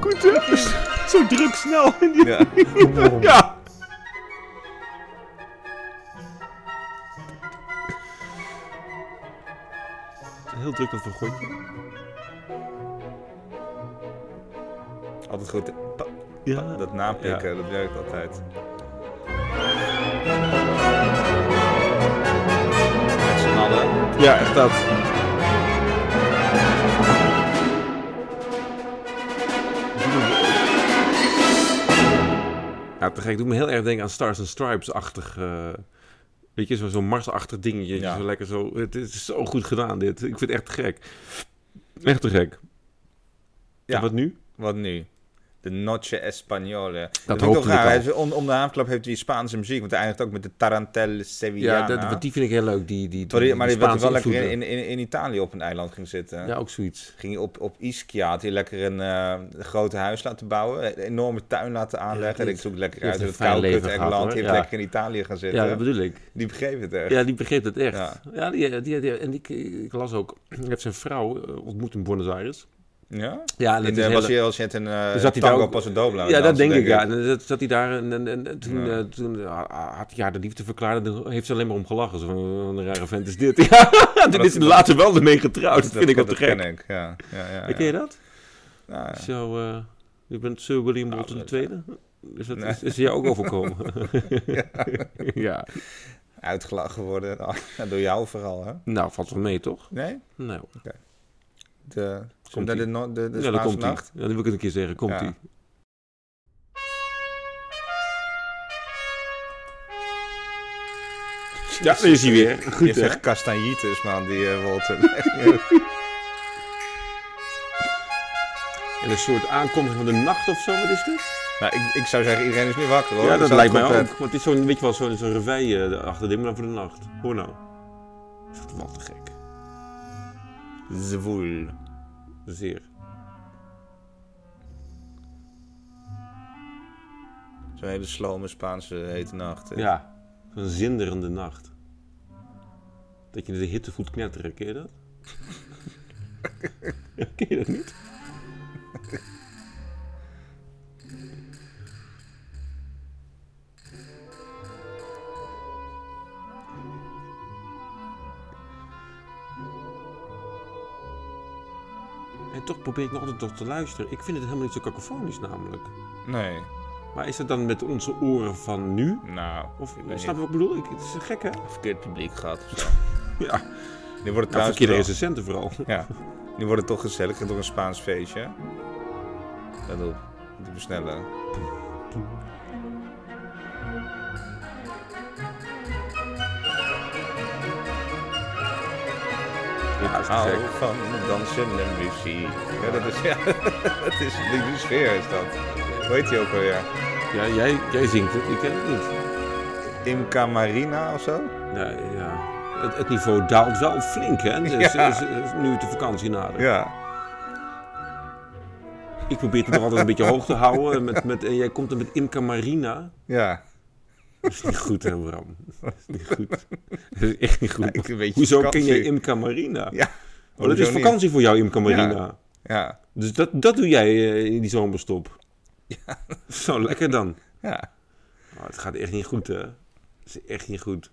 Speaker 2: Goed, hè? Zo druk snel.
Speaker 1: Ja.
Speaker 2: ja. Heel druk dat vergooitje.
Speaker 1: Altijd goed. Pa-
Speaker 2: Ja.
Speaker 1: Dat naampikken, dat werkt altijd. Met z'n allen.
Speaker 2: Ja, echt dat. Ja, te gek. Doet me heel erg denken aan Stars and Stripes-achtig... eh, weet je, zo- zo'n Mars-achtig dingetje.
Speaker 1: Ja.
Speaker 2: Zo lekker zo... Het is zo goed gedaan, dit. Ik vind het echt te gek. Echt te gek.
Speaker 1: Ja.
Speaker 2: En wat nu?
Speaker 1: Wat nu? De Noche Españole. Dat, vind ik
Speaker 2: hoopte
Speaker 1: ook
Speaker 2: ik al.
Speaker 1: raar. Hij is- Om, om de haamklap heeft hij Spaanse muziek, want hij eindigt ook met de Tarantelle Sevillana.
Speaker 2: Ja, dat, want die vind ik heel leuk. Die, die,
Speaker 1: Terwijl
Speaker 2: die,
Speaker 1: hij- nou. maar
Speaker 2: die
Speaker 1: die werd wel
Speaker 2: Spaanse
Speaker 1: lekker in,
Speaker 2: invloeden.
Speaker 1: in, in, in Italië op een eiland ging zitten.
Speaker 2: Ja, ook zoiets.
Speaker 1: Ging hij op, op Ischia, had hij lekker een eh, grote huis laten bouwen, een enorme tuin laten
Speaker 2: Ja, die
Speaker 1: aanleggen. en ik
Speaker 2: heeft-
Speaker 1: zoek lekker
Speaker 2: die
Speaker 1: uit in
Speaker 2: heeft
Speaker 1: het
Speaker 2: een fijn
Speaker 1: koude
Speaker 2: leven
Speaker 1: kut
Speaker 2: gehad,
Speaker 1: Engeland. Die
Speaker 2: hoor.
Speaker 1: heeft
Speaker 2: Ja.
Speaker 1: lekker in Italië gaan
Speaker 2: Ja,
Speaker 1: zitten.
Speaker 2: dat bedoel ik.
Speaker 1: Die begreep het echt.
Speaker 2: Ja, die begreep het echt.
Speaker 1: Ja.
Speaker 2: Ja, die, die, die- en ik, ik las ook, hij heeft zijn vrouw eh, ontmoet in Buenos Aires.
Speaker 1: Ja?
Speaker 2: Ja,
Speaker 1: En
Speaker 2: en dat
Speaker 1: eh,
Speaker 2: is
Speaker 1: was
Speaker 2: hele-
Speaker 1: hij als je het een eh,
Speaker 2: Zat hij daar
Speaker 1: tango
Speaker 2: ook-
Speaker 1: pas een dobla
Speaker 2: ja, dat
Speaker 1: dansen,
Speaker 2: denk ik, ja. En dat zat hij daar en, en, en- en toen,
Speaker 1: Ja.
Speaker 2: eh, toen eh, had hij haar de liefde verklaard en toen heeft ze alleen maar om gelachen. Zo van, "Oh, wat een rare vent is dit. Ja, toen
Speaker 1: dat-
Speaker 2: is ze later wel ermee getrouwd. Oh, Dat, vind ik wel te
Speaker 1: dat
Speaker 2: gek.
Speaker 1: ken ik, ja. ja, ja, Nou,
Speaker 2: Ken je dat?
Speaker 1: Ja, ja.
Speaker 2: Zo, eh, je bent Sir William
Speaker 1: Nou,
Speaker 2: Walton
Speaker 1: dat-
Speaker 2: II? Is dat
Speaker 1: Nee.
Speaker 2: is, is hij jou ook overkomen? ja.
Speaker 1: Uitgelachen worden. Nou, door jou vooral, hè?
Speaker 2: Nou, valt wel mee, toch?
Speaker 1: Nee?
Speaker 2: Nou,
Speaker 1: De,
Speaker 2: Komt-ie.
Speaker 1: de, de, no- de, de
Speaker 2: ja, dan
Speaker 1: Spaanse
Speaker 2: komt hij.
Speaker 1: nacht?
Speaker 2: Ja, dan wil ik het een keer zeggen. Komt
Speaker 1: Ja.
Speaker 2: hij. Ja, daar is hij weer.
Speaker 1: Je
Speaker 2: Goed, hè?
Speaker 1: zegt kastanjitis, man, die eh, Walter.
Speaker 2: En een soort aankomst van de nacht of zo, wat is dit?
Speaker 1: nou, ik, ik zou zeggen, iedereen is nu wakker, hoor.
Speaker 2: ja, dat
Speaker 1: Zo'n
Speaker 2: lijkt mij ook.
Speaker 1: trompet.
Speaker 2: Want Oh, het is zo'n, weet je wel, zo'n, zo'n revij eh, achter dit, maar dan voor de nacht. Hoor nou. Ik vind het Wat te gek.
Speaker 1: Zwoel.
Speaker 2: Zeer.
Speaker 1: Zo'n hele slome Spaanse hete nacht. hè.
Speaker 2: Ja. Zo'n zinderende nacht. Dat je de hitte voet knetteren, ken je dat? ken je dat niet? En toch probeer ik nog altijd toch te luisteren. Ik vind het helemaal niet zo kakofonisch namelijk.
Speaker 1: Nee,
Speaker 2: Maar is dat dan met onze oren van nu?
Speaker 1: nou,
Speaker 2: Of, eh,
Speaker 1: ik weet
Speaker 2: snap je
Speaker 1: niet.
Speaker 2: wat ik bedoel? Ik, het is gek, hè? Nou,
Speaker 1: verkeerd publiek gehad of zo.
Speaker 2: Ja,
Speaker 1: Nu wordt het
Speaker 2: nou,
Speaker 1: trouwens
Speaker 2: verkeerde
Speaker 1: wel-
Speaker 2: recensenten vooral.
Speaker 1: Ja, nu wordt het toch gezellig. Gaat toch een Spaans feestje. Let op, te versnellen.
Speaker 2: Ja, is te
Speaker 1: Hou
Speaker 2: gek.
Speaker 1: van dansen en muziek. Ja, dat is, ja, dat is, die, die sfeer is dat. Hoe heet die ook alweer?
Speaker 2: Ja, jij, jij zingt het, ik ken het niet.
Speaker 1: Imca Marina of zo?
Speaker 2: Nee, ja. Het, het niveau daalt wel flink, hè? Dus,
Speaker 1: Ja.
Speaker 2: is- is- nu de vakantie nadert.
Speaker 1: Ja.
Speaker 2: Ik probeer het nog altijd een beetje hoog te houden. Met, met, en jij komt er met Imca Marina.
Speaker 1: Ja.
Speaker 2: Dat is niet goed, hè, Bram. Dat is niet goed. Dat is echt niet goed.
Speaker 1: Ik een beetje
Speaker 2: Hoezo ken
Speaker 1: vakantie.
Speaker 2: je Imca Marina?
Speaker 1: Ja.
Speaker 2: Oh, dat is
Speaker 1: Hoezo niet?
Speaker 2: vakantie voor jou, Imca Marina.
Speaker 1: Ja,
Speaker 2: Dus dat, dat doe jij eh, in die zomerstop. Zo, lekker dan.
Speaker 1: ja.
Speaker 2: Oh, het gaat echt niet goed, hè. Het is echt niet goed.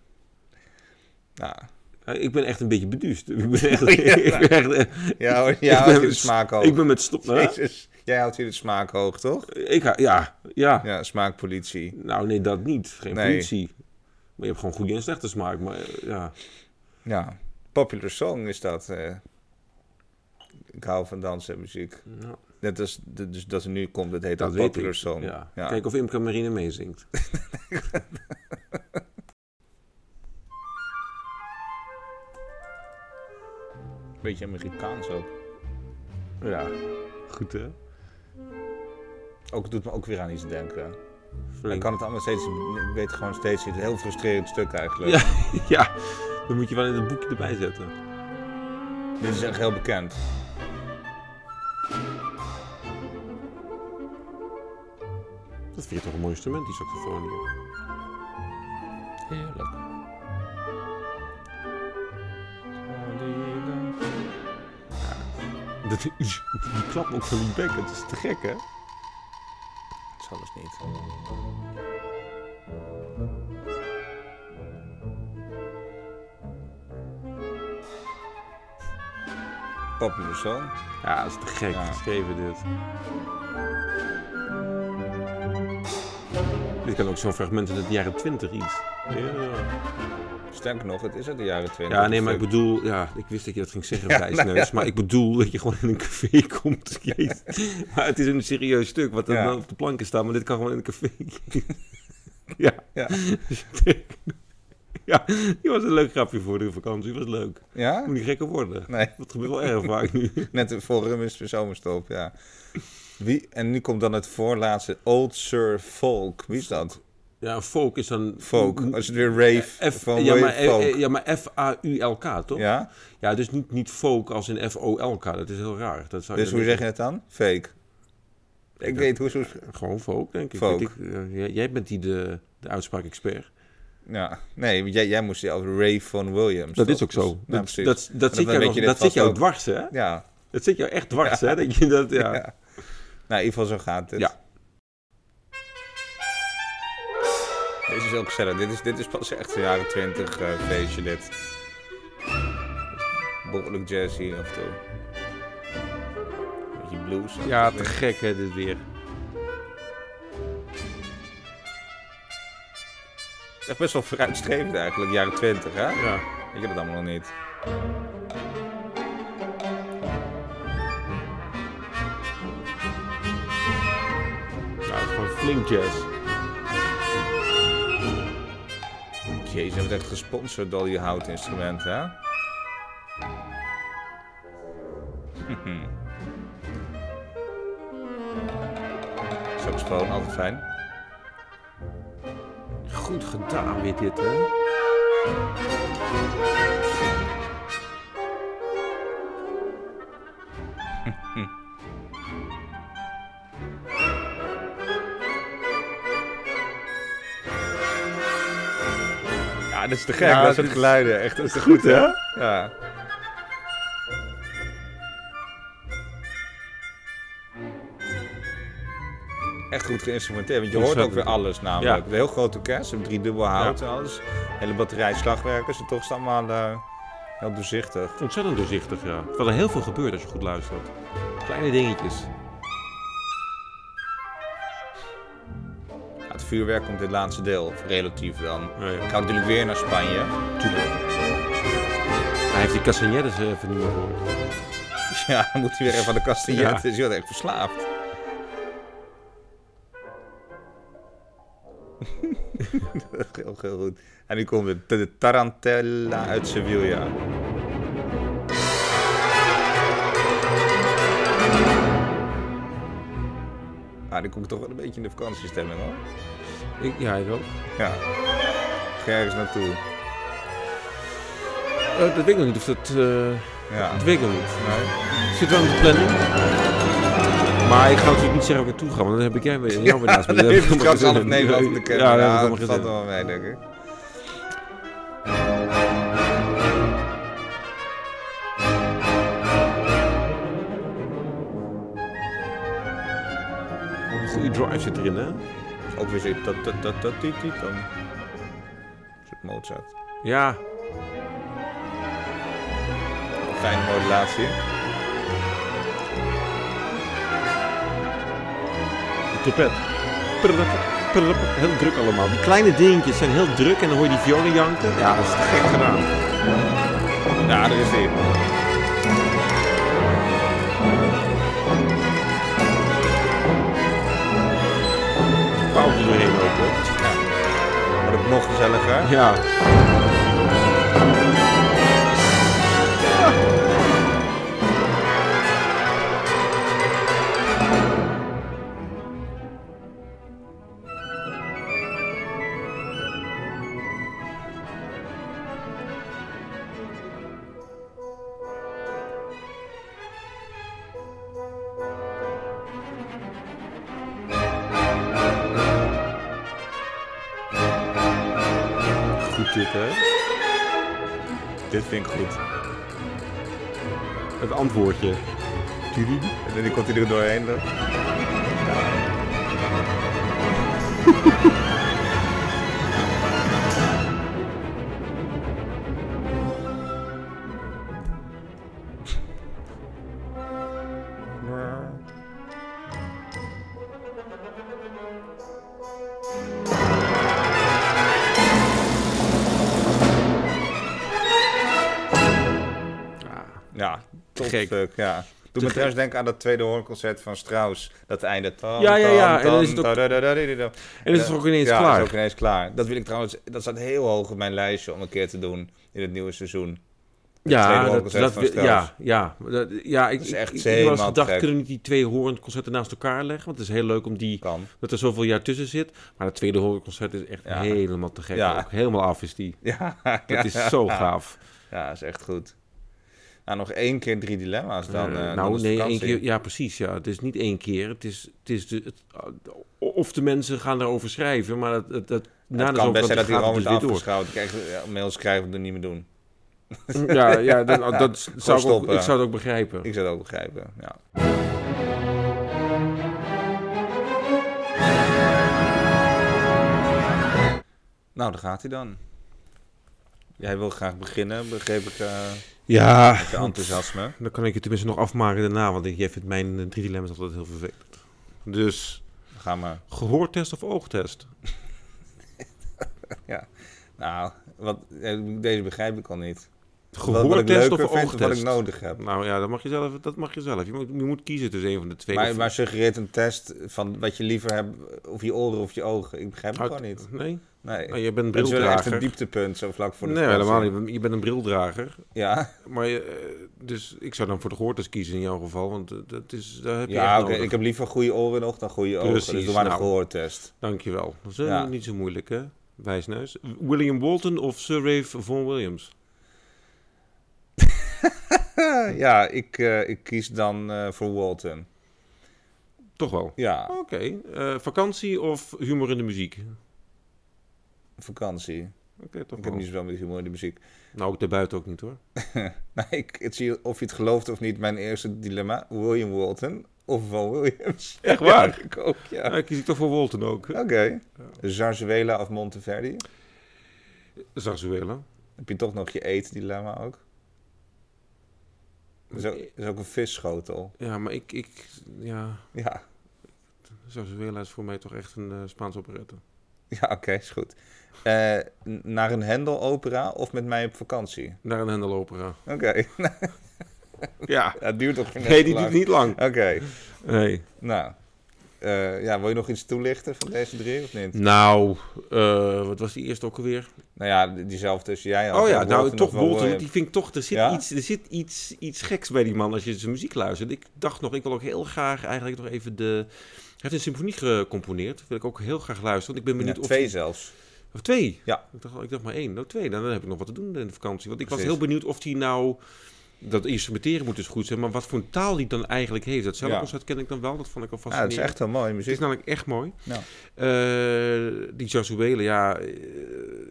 Speaker 1: Ja,
Speaker 2: Eh, Ik ben echt een beetje beduust. Ik ben echt...
Speaker 1: ja.
Speaker 2: ik ben echt, eh,
Speaker 1: ja hoor, jij
Speaker 2: ik
Speaker 1: houdt
Speaker 2: ben-
Speaker 1: hier de smaak hoog.
Speaker 2: ik ben met stop... hè?
Speaker 1: Jezus, jij houdt hier de smaak hoog, toch?
Speaker 2: Ik, ha- ja, ja,
Speaker 1: Ja, smaakpolitie.
Speaker 2: Nou, nee, dat niet. Geen
Speaker 1: Nee.
Speaker 2: politie. Maar je hebt gewoon goede en slechte smaak. Maar eh, ja,
Speaker 1: Ja, popular song is dat. eh. Ik hou van dansen en muziek.
Speaker 2: Nou,
Speaker 1: Net als de- dus dat er nu komt, dat heet
Speaker 2: dat
Speaker 1: dat
Speaker 2: weet
Speaker 1: popular
Speaker 2: ik.
Speaker 1: song.
Speaker 2: Ja.
Speaker 1: Ja.
Speaker 2: Kijk of Imke Marine meezingt.
Speaker 1: Beetje Amerikaans ook.
Speaker 2: Ja, goed hè?
Speaker 1: Ook doet me ook weer aan iets denken. Ik
Speaker 2: Flink.
Speaker 1: kan het allemaal steeds, ik weet gewoon steeds, het is een heel frustrerend stuk eigenlijk.
Speaker 2: Ja. Ja, dan moet je wel in het boekje erbij zetten.
Speaker 1: Dit is echt heel bekend.
Speaker 2: Dat vind je toch een mooi instrument, die saxofoon hier.
Speaker 1: Heerlijk.
Speaker 2: Dat, die, die klap ook van die bek, dat is te gek hè?
Speaker 1: Dat is alles niet. Popular song.
Speaker 2: Ja, dat is te gek
Speaker 1: Ja.
Speaker 2: geschreven dit. Dit kan ook zo'n fragment in het jaren 20 iets. Ja.
Speaker 1: Sterker nog, het is uit de jaren 20.
Speaker 2: Ja, nee, maar ik bedoel, ja, ik wist dat je dat ging zeggen, eh, ja, maar ik bedoel dat je gewoon in een café komt. Jezus. Maar het is een serieus stuk wat er
Speaker 1: Ja.
Speaker 2: dan op de planken staat, maar dit kan gewoon in een café. ja.
Speaker 1: Ja.
Speaker 2: ja, die was een leuk grapje voor de vakantie, was leuk.
Speaker 1: Ja?
Speaker 2: Moet niet gekker worden.
Speaker 1: Nee,
Speaker 2: Dat gebeurt wel erg vaak nu.
Speaker 1: net voor rum is de zomerstop, ja. Wie, en nu komt dan het voorlaatste, Old Sir Folk. Wie is dat?
Speaker 2: Ja, folk is dan...
Speaker 1: Folk. Als het weer rave
Speaker 2: F,
Speaker 1: van
Speaker 2: ja,
Speaker 1: William
Speaker 2: maar, eh,
Speaker 1: Folk.
Speaker 2: eh, ja, maar F-A-U-L-K, toch? Ja,
Speaker 1: Ja?
Speaker 2: dus niet, niet folk als in F-O-L-K. Dat is heel raar. Dat zou
Speaker 1: Dus hoe
Speaker 2: dan-
Speaker 1: zeg je het dan? Fake. Ik
Speaker 2: dat-
Speaker 1: weet hoe ze...
Speaker 2: Gewoon folk, denk ik.
Speaker 1: Folk.
Speaker 2: Weet ik, eh, jij, jij bent die de, de uitspraak-expert.
Speaker 1: Ja, nee, want jij, jij moest die als Ray van Williams.
Speaker 2: Dat
Speaker 1: toch?
Speaker 2: is ook
Speaker 1: Dus-
Speaker 2: zo.
Speaker 1: nou,
Speaker 2: Dat,
Speaker 1: precies.
Speaker 2: dat, dat, zit
Speaker 1: dan
Speaker 2: jou,
Speaker 1: weet
Speaker 2: nog-
Speaker 1: je dit
Speaker 2: dat zit
Speaker 1: vast
Speaker 2: jou
Speaker 1: ook.
Speaker 2: dwars, hè?
Speaker 1: Ja,
Speaker 2: Dat zit jou echt dwars, hè? Dat je dat, ja.
Speaker 1: Ja. nou in ieder geval zo gaat het.
Speaker 2: Ja.
Speaker 1: Deze is heel gezellig. Dit is, dit is pas echt een jaren twintig eh, feestje, dit. Behoorlijk jazz hier af en toe. Beetje blues.
Speaker 2: Ja, te gek, hè, dit weer.
Speaker 1: Echt best wel vooruitstrevend eigenlijk, jaren twintig, hè?
Speaker 2: Ja.
Speaker 1: Ik heb het allemaal nog niet.
Speaker 2: Nou, het is gewoon flink jazz.
Speaker 1: Jezus, hebben het echt gesponsord door die houtinstrumenten, hè? Mhm. Saxofoon, altijd fijn.
Speaker 2: Goed gedaan weer dit, hè?
Speaker 1: Ja, dat is te gek,
Speaker 2: Ja,
Speaker 1: dat
Speaker 2: dit
Speaker 1: soort
Speaker 2: is-
Speaker 1: geluiden. Echt, dat is te
Speaker 2: Goed, hè?
Speaker 1: Ja. Echt goed geïnstrumenteerd, want je hoort ook weer alles namelijk.
Speaker 2: Ja.
Speaker 1: De heel grote orkest, een driedubbel hout en alles. Hele batterij slagwerkers, en toch is het allemaal eh, heel doorzichtig.
Speaker 2: Ontzettend doorzichtig, ja. Terwijl er heel veel gebeurt als je goed luistert. Kleine dingetjes.
Speaker 1: Ja, het vuurwerk komt in het laatste deel, relatief dan.
Speaker 2: Ja, ja.
Speaker 1: Ik ga natuurlijk weer naar Spanje.
Speaker 2: Hij heeft die castagnettes eh, even niet meer gehoord.
Speaker 1: Ja, dan moet hij weer even aan de castagnet.
Speaker 2: Ja.
Speaker 1: Ja. Dus je wordt echt verslaafd. heel, heel goed. En nu komt de, de Tarantella uit Sevilla. Ah, nu kom ik toch wel een beetje in de vakantiestemming hoor.
Speaker 2: Ik, ja, ik ook.
Speaker 1: Ja. Ga ergens naartoe.
Speaker 2: Eh, dat weet ik nog niet of dat... eh,
Speaker 1: Ja.
Speaker 2: Dat weet ik nog niet.
Speaker 1: Nee.
Speaker 2: Zit wel in de planning. Maar ik ga natuurlijk niet zeggen waar ik naartoe ga, want dan heb ik jij weer jou weer naast me.
Speaker 1: Dan
Speaker 2: Dat
Speaker 1: heb
Speaker 2: heb
Speaker 1: je
Speaker 2: ik
Speaker 1: straks
Speaker 2: allemaal
Speaker 1: half
Speaker 2: gezien.
Speaker 1: negen achter de
Speaker 2: Ja,
Speaker 1: camera.
Speaker 2: dat heb
Speaker 1: Ja, dat
Speaker 2: ik allemaal
Speaker 1: valt er
Speaker 2: gezien.
Speaker 1: wel mee, denk ik.
Speaker 2: Een goede drive zit erin, hè?
Speaker 1: Ook weer zoiets. Dat, dat, dat, dat, dit, dit, dan. Een soort Mozart.
Speaker 2: Ja.
Speaker 1: Fijne modulatie.
Speaker 2: De trompet. Prrrp, prrrp. Heel druk allemaal. Die kleine dingetjes zijn heel druk en dan hoor je die violen janken. Ja, dat is te gek gedaan.
Speaker 1: Ja, daar is hij.
Speaker 2: Pauze doorheen lopen.
Speaker 1: Wordt het nog gezelliger.
Speaker 2: Ja. Goed dit, hè?
Speaker 1: Dit vind ik goed.
Speaker 2: Het antwoordje.
Speaker 1: En dan komt hij er doorheen. dan. Ja, tot
Speaker 2: gek.
Speaker 1: stuk, ja. Doe me
Speaker 2: gek.
Speaker 1: trouwens denken aan dat tweede hoorconcert van Strauss. Dat einde. Tam,
Speaker 2: Ja, ja, ja.
Speaker 1: tam,
Speaker 2: En dan is het
Speaker 1: tam,
Speaker 2: ook-
Speaker 1: tadadadadadada.
Speaker 2: En het is
Speaker 1: Ja.
Speaker 2: ook ineens
Speaker 1: ja,
Speaker 2: klaar.
Speaker 1: is ook ineens klaar. Dat wil ik trouwens... Dat staat heel hoog op mijn lijstje om een keer te doen in het nieuwe seizoen. Het tweede
Speaker 2: Ja, dat,
Speaker 1: hoorconcert
Speaker 2: dat,
Speaker 1: van
Speaker 2: wi-
Speaker 1: Strauss.
Speaker 2: ja, ja, dat, ja. Ik,
Speaker 1: Dat is
Speaker 2: ik-
Speaker 1: echt
Speaker 2: ik, ik was
Speaker 1: helemaal
Speaker 2: gedacht,
Speaker 1: gek.
Speaker 2: kunnen we niet die twee hoornconcerten naast elkaar leggen? Want het is heel leuk om die,
Speaker 1: Kan.
Speaker 2: dat er zoveel jaar tussen zit. Maar het tweede hoornconcert is echt
Speaker 1: Ja.
Speaker 2: helemaal te gek.
Speaker 1: Ja.
Speaker 2: Ook. Helemaal af is die.
Speaker 1: Ja,
Speaker 2: Dat is zo gaaf.
Speaker 1: Ja, is echt goed. Nou, nog één keer drie dilemma's dan.
Speaker 2: Eh,
Speaker 1: eh, dan
Speaker 2: nou,
Speaker 1: is
Speaker 2: nee, één
Speaker 1: vakantie.
Speaker 2: keer. Ja, precies. Ja. Het is niet één keer. Het is, het is de, het- of de mensen gaan daarover schrijven, maar dat, dat, dat, na
Speaker 1: het
Speaker 2: de
Speaker 1: kan
Speaker 2: zomer
Speaker 1: best zijn dat
Speaker 2: gaat
Speaker 1: die
Speaker 2: het
Speaker 1: gewoon
Speaker 2: dus
Speaker 1: is
Speaker 2: weer door.
Speaker 1: afgeschouwd. Kijk, eh, ja, mails krijgen we het niet meer doen.
Speaker 2: Ja, ja dat, dat zou ik, ook,
Speaker 1: stoppen.
Speaker 2: ik zou het ook begrijpen.
Speaker 1: Ik zou het ook begrijpen, ja. Nou, daar gaat hij dan. Jij wil graag beginnen, begreep ik eh
Speaker 2: Ja,
Speaker 1: je enthousiasme.
Speaker 2: Dan kan ik het tenminste nog afmaken daarna, want jij vindt mijn eh, drie dilemma's altijd heel vervelend. Dus
Speaker 1: Ga maar.
Speaker 2: gehoortest of oogtest?
Speaker 1: Nou, wat, eh, deze begrijp ik al niet. Wat- wat ik
Speaker 2: Gehoortest
Speaker 1: leuker
Speaker 2: of
Speaker 1: vind, Wat ik
Speaker 2: oogtest?
Speaker 1: nodig heb.
Speaker 2: Nou ja, dat mag je zelf. Dat mag je, zelf. Je, moet, je moet kiezen tussen een van de twee.
Speaker 1: Maar,
Speaker 2: Of-
Speaker 1: maar suggereert een test van wat je liever hebt, of je oren of je ogen. Ik begrijp het
Speaker 2: Uit-
Speaker 1: gewoon niet.
Speaker 2: Ah, Nee,
Speaker 1: Nee.
Speaker 2: Nou, Oh, je bent een
Speaker 1: Dat is wel echt een
Speaker 2: brildrager.
Speaker 1: dieptepunt, zo vlak voor de
Speaker 2: Nee,
Speaker 1: vakantie.
Speaker 2: helemaal niet. Je bent een brildrager.
Speaker 1: Ja,
Speaker 2: Maar je, eh, dus ik zou dan voor de gehoortest kiezen in jouw geval, want eh, dat is, daar heb je
Speaker 1: ja
Speaker 2: echt
Speaker 1: oké.
Speaker 2: nodig.
Speaker 1: ik heb liever goede oren nog dan goede ogen. Dus
Speaker 2: Precies,
Speaker 1: doe maar een
Speaker 2: nou.
Speaker 1: gehoortest.
Speaker 2: Dankjewel. Dat is eh,
Speaker 1: Ja.
Speaker 2: niet zo moeilijk, hè? Wijsneus. William Walton of Sir Ralph Vaughan Williams?
Speaker 1: Eh, ja, ik, eh, ik kies dan eh, voor Walton.
Speaker 2: Toch wel.
Speaker 1: Ja,
Speaker 2: Oké, eh, vakantie of humor in de muziek? Oké,
Speaker 1: vakantie.
Speaker 2: toch
Speaker 1: Ik heb
Speaker 2: wel.
Speaker 1: niet zoveel met humor in de muziek.
Speaker 2: Nou, ook daarbuiten ook niet hoor.
Speaker 1: Nou, ik, het zie of je het gelooft of niet, mijn eerste dilemma. William Walton of Van Williams.
Speaker 2: Echt waar?
Speaker 1: Ja, ik ook, ja.
Speaker 2: Ja,
Speaker 1: Oké.
Speaker 2: ik kies ik toch voor Walton ook.
Speaker 1: Zarzuela of Monteverdi?
Speaker 2: Zarzuela.
Speaker 1: Heb je toch nog je eetdilemma ook? Er is ook, er is ook een visschotel.
Speaker 2: Ja, maar ik, ik ja,
Speaker 1: Ja,
Speaker 2: Zarzuela is voor mij toch echt een eh, Spaans Spaanse operette.
Speaker 1: ja oké, is goed. Eh, n- naar een Hendel-opera of met mij op vakantie?
Speaker 2: Naar een Hendel opera.
Speaker 1: Oké,
Speaker 2: Ja.
Speaker 1: dat duurt toch geen
Speaker 2: Nee, die
Speaker 1: lang.
Speaker 2: duurt niet lang.
Speaker 1: Oké,
Speaker 2: Nee.
Speaker 1: nou. Eh, ja, wil je nog iets toelichten van deze drie of niet?
Speaker 2: Nou, eh, wat was die eerste ook alweer?
Speaker 1: Nou ja, die- diezelfde als jij. had,
Speaker 2: oh ja,
Speaker 1: hè,
Speaker 2: nou
Speaker 1: Walton
Speaker 2: toch
Speaker 1: of Van
Speaker 2: Walton.
Speaker 1: Williams.
Speaker 2: Die vind ik toch, er
Speaker 1: eh,
Speaker 2: zit,
Speaker 1: Ja?
Speaker 2: iets, er zit iets, iets geks bij die man als je zijn muziek luistert. Ik dacht nog, ik wil ook heel graag eigenlijk nog even de... Hij heeft een symfonie gecomponeerd. Wil ik ook heel graag luisteren. want Ik ben
Speaker 1: Ja,
Speaker 2: benieuwd of
Speaker 1: twee zelfs.
Speaker 2: Of twee?
Speaker 1: Ja.
Speaker 2: nou, Ik dacht, al- ik dacht maar één. Nou, twee. Dan, dan heb ik nog wat te doen in de vakantie. Want ik
Speaker 1: Precies.
Speaker 2: was heel benieuwd of hij nou dat instrumenteren moet dus goed zijn, maar wat voor een taal die dan eigenlijk heeft. Dat
Speaker 1: Ja.
Speaker 2: cellenconcert ken ik dan wel, dat vond ik al
Speaker 1: Ja, het is
Speaker 2: fascinerend.
Speaker 1: echt heel mooie
Speaker 2: Het is
Speaker 1: muziek.
Speaker 2: namelijk echt mooi.
Speaker 1: Ja.
Speaker 2: Eh, die Jasuele, ja, eh,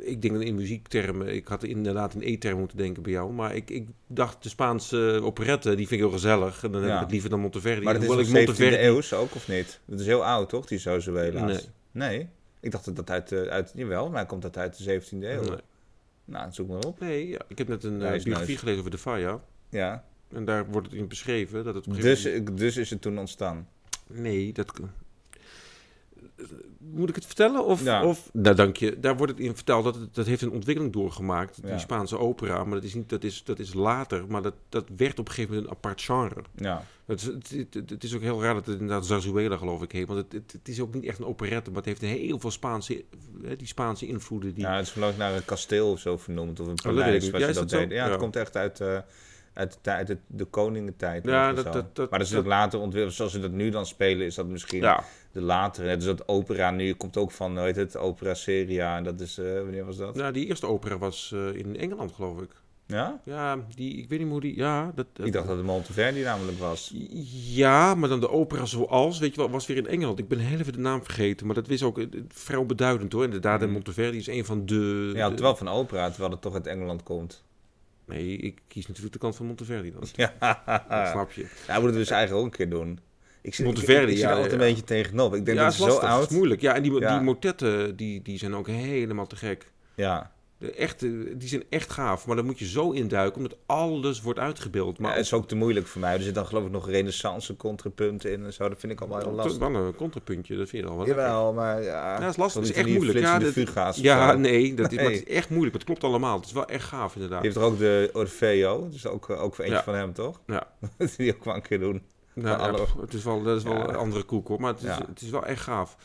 Speaker 2: ik denk in muziektermen, ik had inderdaad in E-term moeten denken bij jou, maar ik, ik dacht de Spaanse operette, die vind ik heel gezellig. En dan heb
Speaker 1: Ja.
Speaker 2: ik het liever dan Monteverdi.
Speaker 1: Maar dat is
Speaker 2: Hoewel
Speaker 1: nog
Speaker 2: ik
Speaker 1: 17e
Speaker 2: Monteverdi-
Speaker 1: eeuws ook, of niet? Dat is heel oud, toch, die Zozuela?
Speaker 2: Nee.
Speaker 1: Nee? Ik dacht dat dat uit, eh, uit... Jawel, maar komt dat uit de 17e eeuw?
Speaker 2: Nee,
Speaker 1: Nou, dat zoek maar op.
Speaker 2: Nee, ja, ik heb net een
Speaker 1: Hij
Speaker 2: eh,
Speaker 1: is
Speaker 2: biografie
Speaker 1: nice.
Speaker 2: gelezen over de Faya.
Speaker 1: Ja.
Speaker 2: En daar wordt het in beschreven dat het... op een
Speaker 1: Dus,
Speaker 2: gegeven
Speaker 1: dus is het toen ontstaan.
Speaker 2: moment- Nee, dat... Moet ik het vertellen? Of,
Speaker 1: Ja.
Speaker 2: of, nou, dank je. Daar wordt het in verteld dat het, dat heeft een ontwikkeling doorgemaakt. Die
Speaker 1: Ja.
Speaker 2: Spaanse opera, maar dat is, niet, dat is, dat is later. Maar dat, dat werd op een gegeven moment een apart genre.
Speaker 1: Ja.
Speaker 2: Het, is- het, het, het is ook heel raar dat het inderdaad Zazuela, geloof ik, heet. Want het, het, het is ook niet echt een operette, maar het heeft heel veel Spaanse, hè, die Spaanse invloeden. Die,
Speaker 1: ja, Nou, het is geloof ik naar een kasteel of zo vernoemd. Of een
Speaker 2: weet
Speaker 1: paleis,
Speaker 2: ik niet.
Speaker 1: wat
Speaker 2: Ja,
Speaker 1: je
Speaker 2: is
Speaker 1: dat
Speaker 2: Oh, dat zo?
Speaker 1: deed. Ja, het
Speaker 2: Ja.
Speaker 1: komt echt uit, eh, uit, de, tijd- uit de, de koningentijd.
Speaker 2: Ja,
Speaker 1: of
Speaker 2: dat-
Speaker 1: zo.
Speaker 2: dat- dat-
Speaker 1: maar dat is
Speaker 2: dat-
Speaker 1: het later ontwikkeld. Zoals ze dat nu dan spelen, is dat misschien
Speaker 2: ja.
Speaker 1: de latere. Net als dat opera nu komt ook van, hoe heet het, opera seria. En dat is, eh, wanneer was dat?
Speaker 2: Nou, die eerste opera was eh, in Engeland, geloof ik.
Speaker 1: Ja?
Speaker 2: Ja, die, ik weet niet hoe die... Ja, dat,
Speaker 1: Ik dacht dat het Monteverdi namelijk was.
Speaker 2: Ja, maar dan de opera zoals, weet je wel, was weer in Engeland. Ik ben heel even de naam vergeten, maar dat is ook eh, vrij beduidend hoor. Inderdaad, en
Speaker 1: Mm.
Speaker 2: Monteverdi is een van de...
Speaker 1: Ja,
Speaker 2: de-
Speaker 1: terwijl van opera, terwijl het toch uit Engeland komt.
Speaker 2: Nee, ik kies natuurlijk de kant van Monteverdi dan.
Speaker 1: Ja,
Speaker 2: Dat
Speaker 1: ja
Speaker 2: snap je.
Speaker 1: hij moet het dus eigenlijk ook een keer doen. Ik zit,
Speaker 2: Monteverdi,
Speaker 1: ik, ik zit er
Speaker 2: ja,
Speaker 1: altijd
Speaker 2: ja.
Speaker 1: een beetje tegenop. Ik denk
Speaker 2: ja,
Speaker 1: dat
Speaker 2: is
Speaker 1: het zo
Speaker 2: lastig, het
Speaker 1: oud...
Speaker 2: is moeilijk. Ja, en die,
Speaker 1: Ja.
Speaker 2: die motetten, die, die zijn ook helemaal te gek.
Speaker 1: Ja,
Speaker 2: De echte, die zijn echt gaaf, maar dan moet je zo induiken, omdat alles wordt uitgebeeld. Maar
Speaker 1: maar het is ook te moeilijk voor mij. Er zit dan geloof ik nog renaissance contrapunten in en zo. Dat vind ik allemaal heel lastig.
Speaker 2: Wel een contrapuntje, dat vind je al wel. lekker.
Speaker 1: Jawel, maar ja...
Speaker 2: Ja, dat is
Speaker 1: Van
Speaker 2: lastig, dat
Speaker 1: die-
Speaker 2: is echt
Speaker 1: van die
Speaker 2: moeilijk. Ja,
Speaker 1: flitsende
Speaker 2: dat-
Speaker 1: fuga's of
Speaker 2: ja
Speaker 1: zo.
Speaker 2: nee, dat is, maar
Speaker 1: Nee.
Speaker 2: het is echt moeilijk. maar Het klopt allemaal. Het is wel echt gaaf, inderdaad.
Speaker 1: Je hebt er ook de Orfeo. Dat is ook, eh, ook eentje
Speaker 2: Ja.
Speaker 1: van hem, toch?
Speaker 2: Ja.
Speaker 1: Die ook wel een keer doen.
Speaker 2: Nou,
Speaker 1: Van
Speaker 2: ja,
Speaker 1: alle-
Speaker 2: pff, het is wel, dat is wel
Speaker 1: Ja.
Speaker 2: een andere koek hoor, maar het is,
Speaker 1: Ja. Oh,
Speaker 2: het is wel echt gaaf.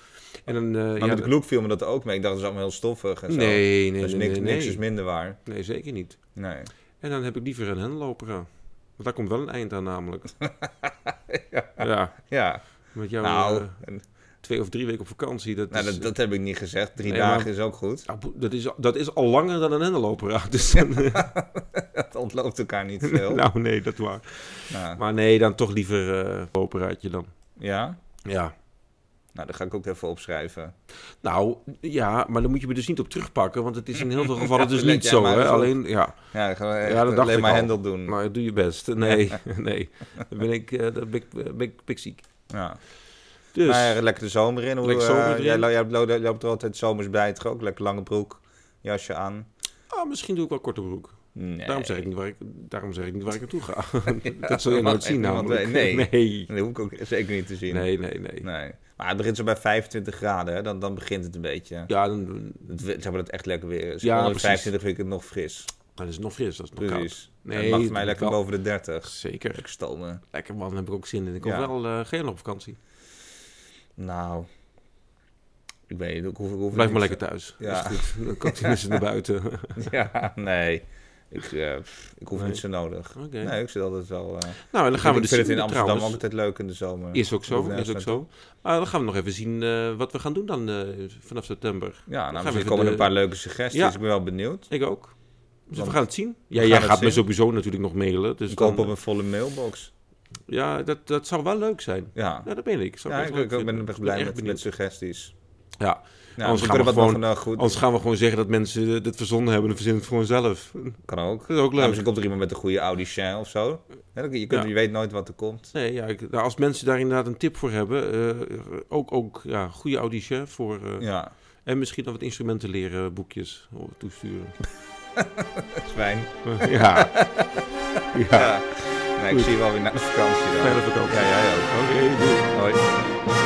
Speaker 2: En dan, eh,
Speaker 1: Maar
Speaker 2: ja,
Speaker 1: met de Gloek viel me dat ook mee. Ik dacht, dat is allemaal heel stoffig en zo.
Speaker 2: nee, nee,
Speaker 1: dus
Speaker 2: nee,
Speaker 1: niks,
Speaker 2: nee,
Speaker 1: niks
Speaker 2: nee.
Speaker 1: is minder waar.
Speaker 2: Nee, zeker niet.
Speaker 1: Nee.
Speaker 2: En dan heb ik liever een henlopera. Want daar komt wel een eind aan namelijk. ja.
Speaker 1: Ja,
Speaker 2: met jou
Speaker 1: nou,
Speaker 2: eh,
Speaker 1: en-
Speaker 2: twee of drie weken op vakantie. Dat,
Speaker 1: nou
Speaker 2: is,
Speaker 1: dat, dat heb ik niet gezegd. Drie
Speaker 2: Dus, eh, Nee,
Speaker 1: dagen
Speaker 2: maar-
Speaker 1: is ook goed.
Speaker 2: Ah, bo- dat, is, dat is al langer dan een henlopera. Dus, dan-
Speaker 1: Het ontloopt elkaar niet veel.
Speaker 2: nou nee, dat waar.
Speaker 1: Nou,
Speaker 2: Maar nee, dan toch liever eh operaatje dan.
Speaker 1: ja,
Speaker 2: Ja.
Speaker 1: nou, dat ga ik ook even opschrijven.
Speaker 2: Nou, ja, maar dan moet je me dus niet op terugpakken, want het is in heel veel gevallen dus
Speaker 1: let
Speaker 2: niet
Speaker 1: jij
Speaker 2: zo.
Speaker 1: maar
Speaker 2: Hè?
Speaker 1: eens op.
Speaker 2: Alleen, ja.
Speaker 1: Ja, dan gaan we echt
Speaker 2: dat dacht
Speaker 1: alleen
Speaker 2: ik
Speaker 1: maar
Speaker 2: al.
Speaker 1: Hendel doen.
Speaker 2: Maar doe je best. Nee, nee. Dan ben ik, eh, dan ben ik, eh, ben ik, ben ik ziek.
Speaker 1: Ja.
Speaker 2: Dus,
Speaker 1: Maar lekker de zomer in. Hoe,
Speaker 2: Lekker zomer
Speaker 1: eh,
Speaker 2: erin.
Speaker 1: jij, lo- jij lo- lo- loopt er altijd zomers bij, toch ook? Lekker lange broek, jasje aan.
Speaker 2: ah, misschien doe ik wel korte broek.
Speaker 1: Nee.
Speaker 2: Daarom, zeg ik niet waar ik, daarom zeg ik niet waar ik naartoe ga. dat
Speaker 1: dat
Speaker 2: zul je
Speaker 1: mag
Speaker 2: nooit
Speaker 1: echt
Speaker 2: zien
Speaker 1: niemand
Speaker 2: namelijk.
Speaker 1: weten. Nee.
Speaker 2: nee.
Speaker 1: Dat hoef ik ook zeker niet te zien.
Speaker 2: Nee, nee, nee.
Speaker 1: Nee. Maar het begint zo bij 25 graden, hè? Dan, dan begint het een beetje.
Speaker 2: Ja, dan,
Speaker 1: Het, we- zeg maar dat het echt lekker weer is.
Speaker 2: Ja,
Speaker 1: Onder de
Speaker 2: precies.
Speaker 1: 25 vind ik het nog fris.
Speaker 2: dan is het nog fris. Dat is nog koud.
Speaker 1: Precies.
Speaker 2: Nee,
Speaker 1: het mag voor mij
Speaker 2: dat
Speaker 1: lekker
Speaker 2: wel.
Speaker 1: boven de 30.
Speaker 2: Zeker.
Speaker 1: Lekker stomen.
Speaker 2: Lekker man, daar heb ik ook zin in. Ik kom
Speaker 1: Ja.
Speaker 2: wel eh geen op vakantie.
Speaker 1: Nou, ik weet niet. Ik hoef, ik hoef
Speaker 2: Blijf
Speaker 1: niet
Speaker 2: maar lekker thuis.
Speaker 1: Ja.
Speaker 2: Dat is goed. Dan kan ik tenminste naar buiten. Oké.
Speaker 1: Ja, nee. Ik, eh, pff, ik hoef
Speaker 2: Nee.
Speaker 1: niet zo nodig. Nee, ik zit altijd wel... eh,
Speaker 2: Nou, en dan gaan we
Speaker 1: ik vind het
Speaker 2: dus zien
Speaker 1: in Amsterdam
Speaker 2: trouwens.
Speaker 1: ook altijd leuk in de zomer.
Speaker 2: Is ook zo,
Speaker 1: Hoef je
Speaker 2: is ook
Speaker 1: nergens
Speaker 2: zo. Maar dan gaan we nog even zien eh, wat we gaan doen dan eh, vanaf september.
Speaker 1: Ja,
Speaker 2: we
Speaker 1: nou, misschien
Speaker 2: even
Speaker 1: komen er
Speaker 2: de-
Speaker 1: een paar leuke suggesties.
Speaker 2: Ja.
Speaker 1: Ik ben wel benieuwd.
Speaker 2: Ik ook. Dus
Speaker 1: Want
Speaker 2: we gaan het zien. Ja,
Speaker 1: gaan
Speaker 2: jij
Speaker 1: het
Speaker 2: gaat me
Speaker 1: zien.
Speaker 2: sowieso natuurlijk nog mailen. Dus
Speaker 1: ik hoop
Speaker 2: dan-
Speaker 1: op een volle mailbox.
Speaker 2: Ja, dat, dat zou wel leuk zijn.
Speaker 1: Ja,
Speaker 2: Ja, dat ben ik. Zou
Speaker 1: ja
Speaker 2: best
Speaker 1: ik,
Speaker 2: leuk
Speaker 1: ik ben
Speaker 2: vinden.
Speaker 1: ben echt blij
Speaker 2: echt
Speaker 1: met, met
Speaker 2: benieuwd.
Speaker 1: suggesties.
Speaker 2: Ja,
Speaker 1: Ja,
Speaker 2: Anders
Speaker 1: we
Speaker 2: gaan we
Speaker 1: kunnen wat nog
Speaker 2: gewoon-
Speaker 1: een, eh, goed.
Speaker 2: anders gaan we gewoon zeggen dat mensen eh, dit verzonnen hebben en verzinnen het gewoon zelf.
Speaker 1: Kan ook.
Speaker 2: Dat is ook
Speaker 1: Nou,
Speaker 2: leuk.
Speaker 1: misschien komt er iemand met een goede Audi Share of zo. Ja, dan- je, kunt,
Speaker 2: Ja.
Speaker 1: je weet nooit wat er komt.
Speaker 2: Nee, ja, ik- nou, als mensen daar inderdaad een tip voor hebben, eh, ook, ook ja, goede audition voor... eh,
Speaker 1: Ja,
Speaker 2: En misschien nog wat instrumenten leren, boekjes oh, toesturen.
Speaker 1: fijn.
Speaker 2: ja. ja.
Speaker 1: Ja. Nee, ik
Speaker 2: Goed.
Speaker 1: zie je wel weer na de vakantie dan.
Speaker 2: Fijne vakantie.
Speaker 1: Ja, jij ook.
Speaker 2: Okay, doei.
Speaker 1: Hoi.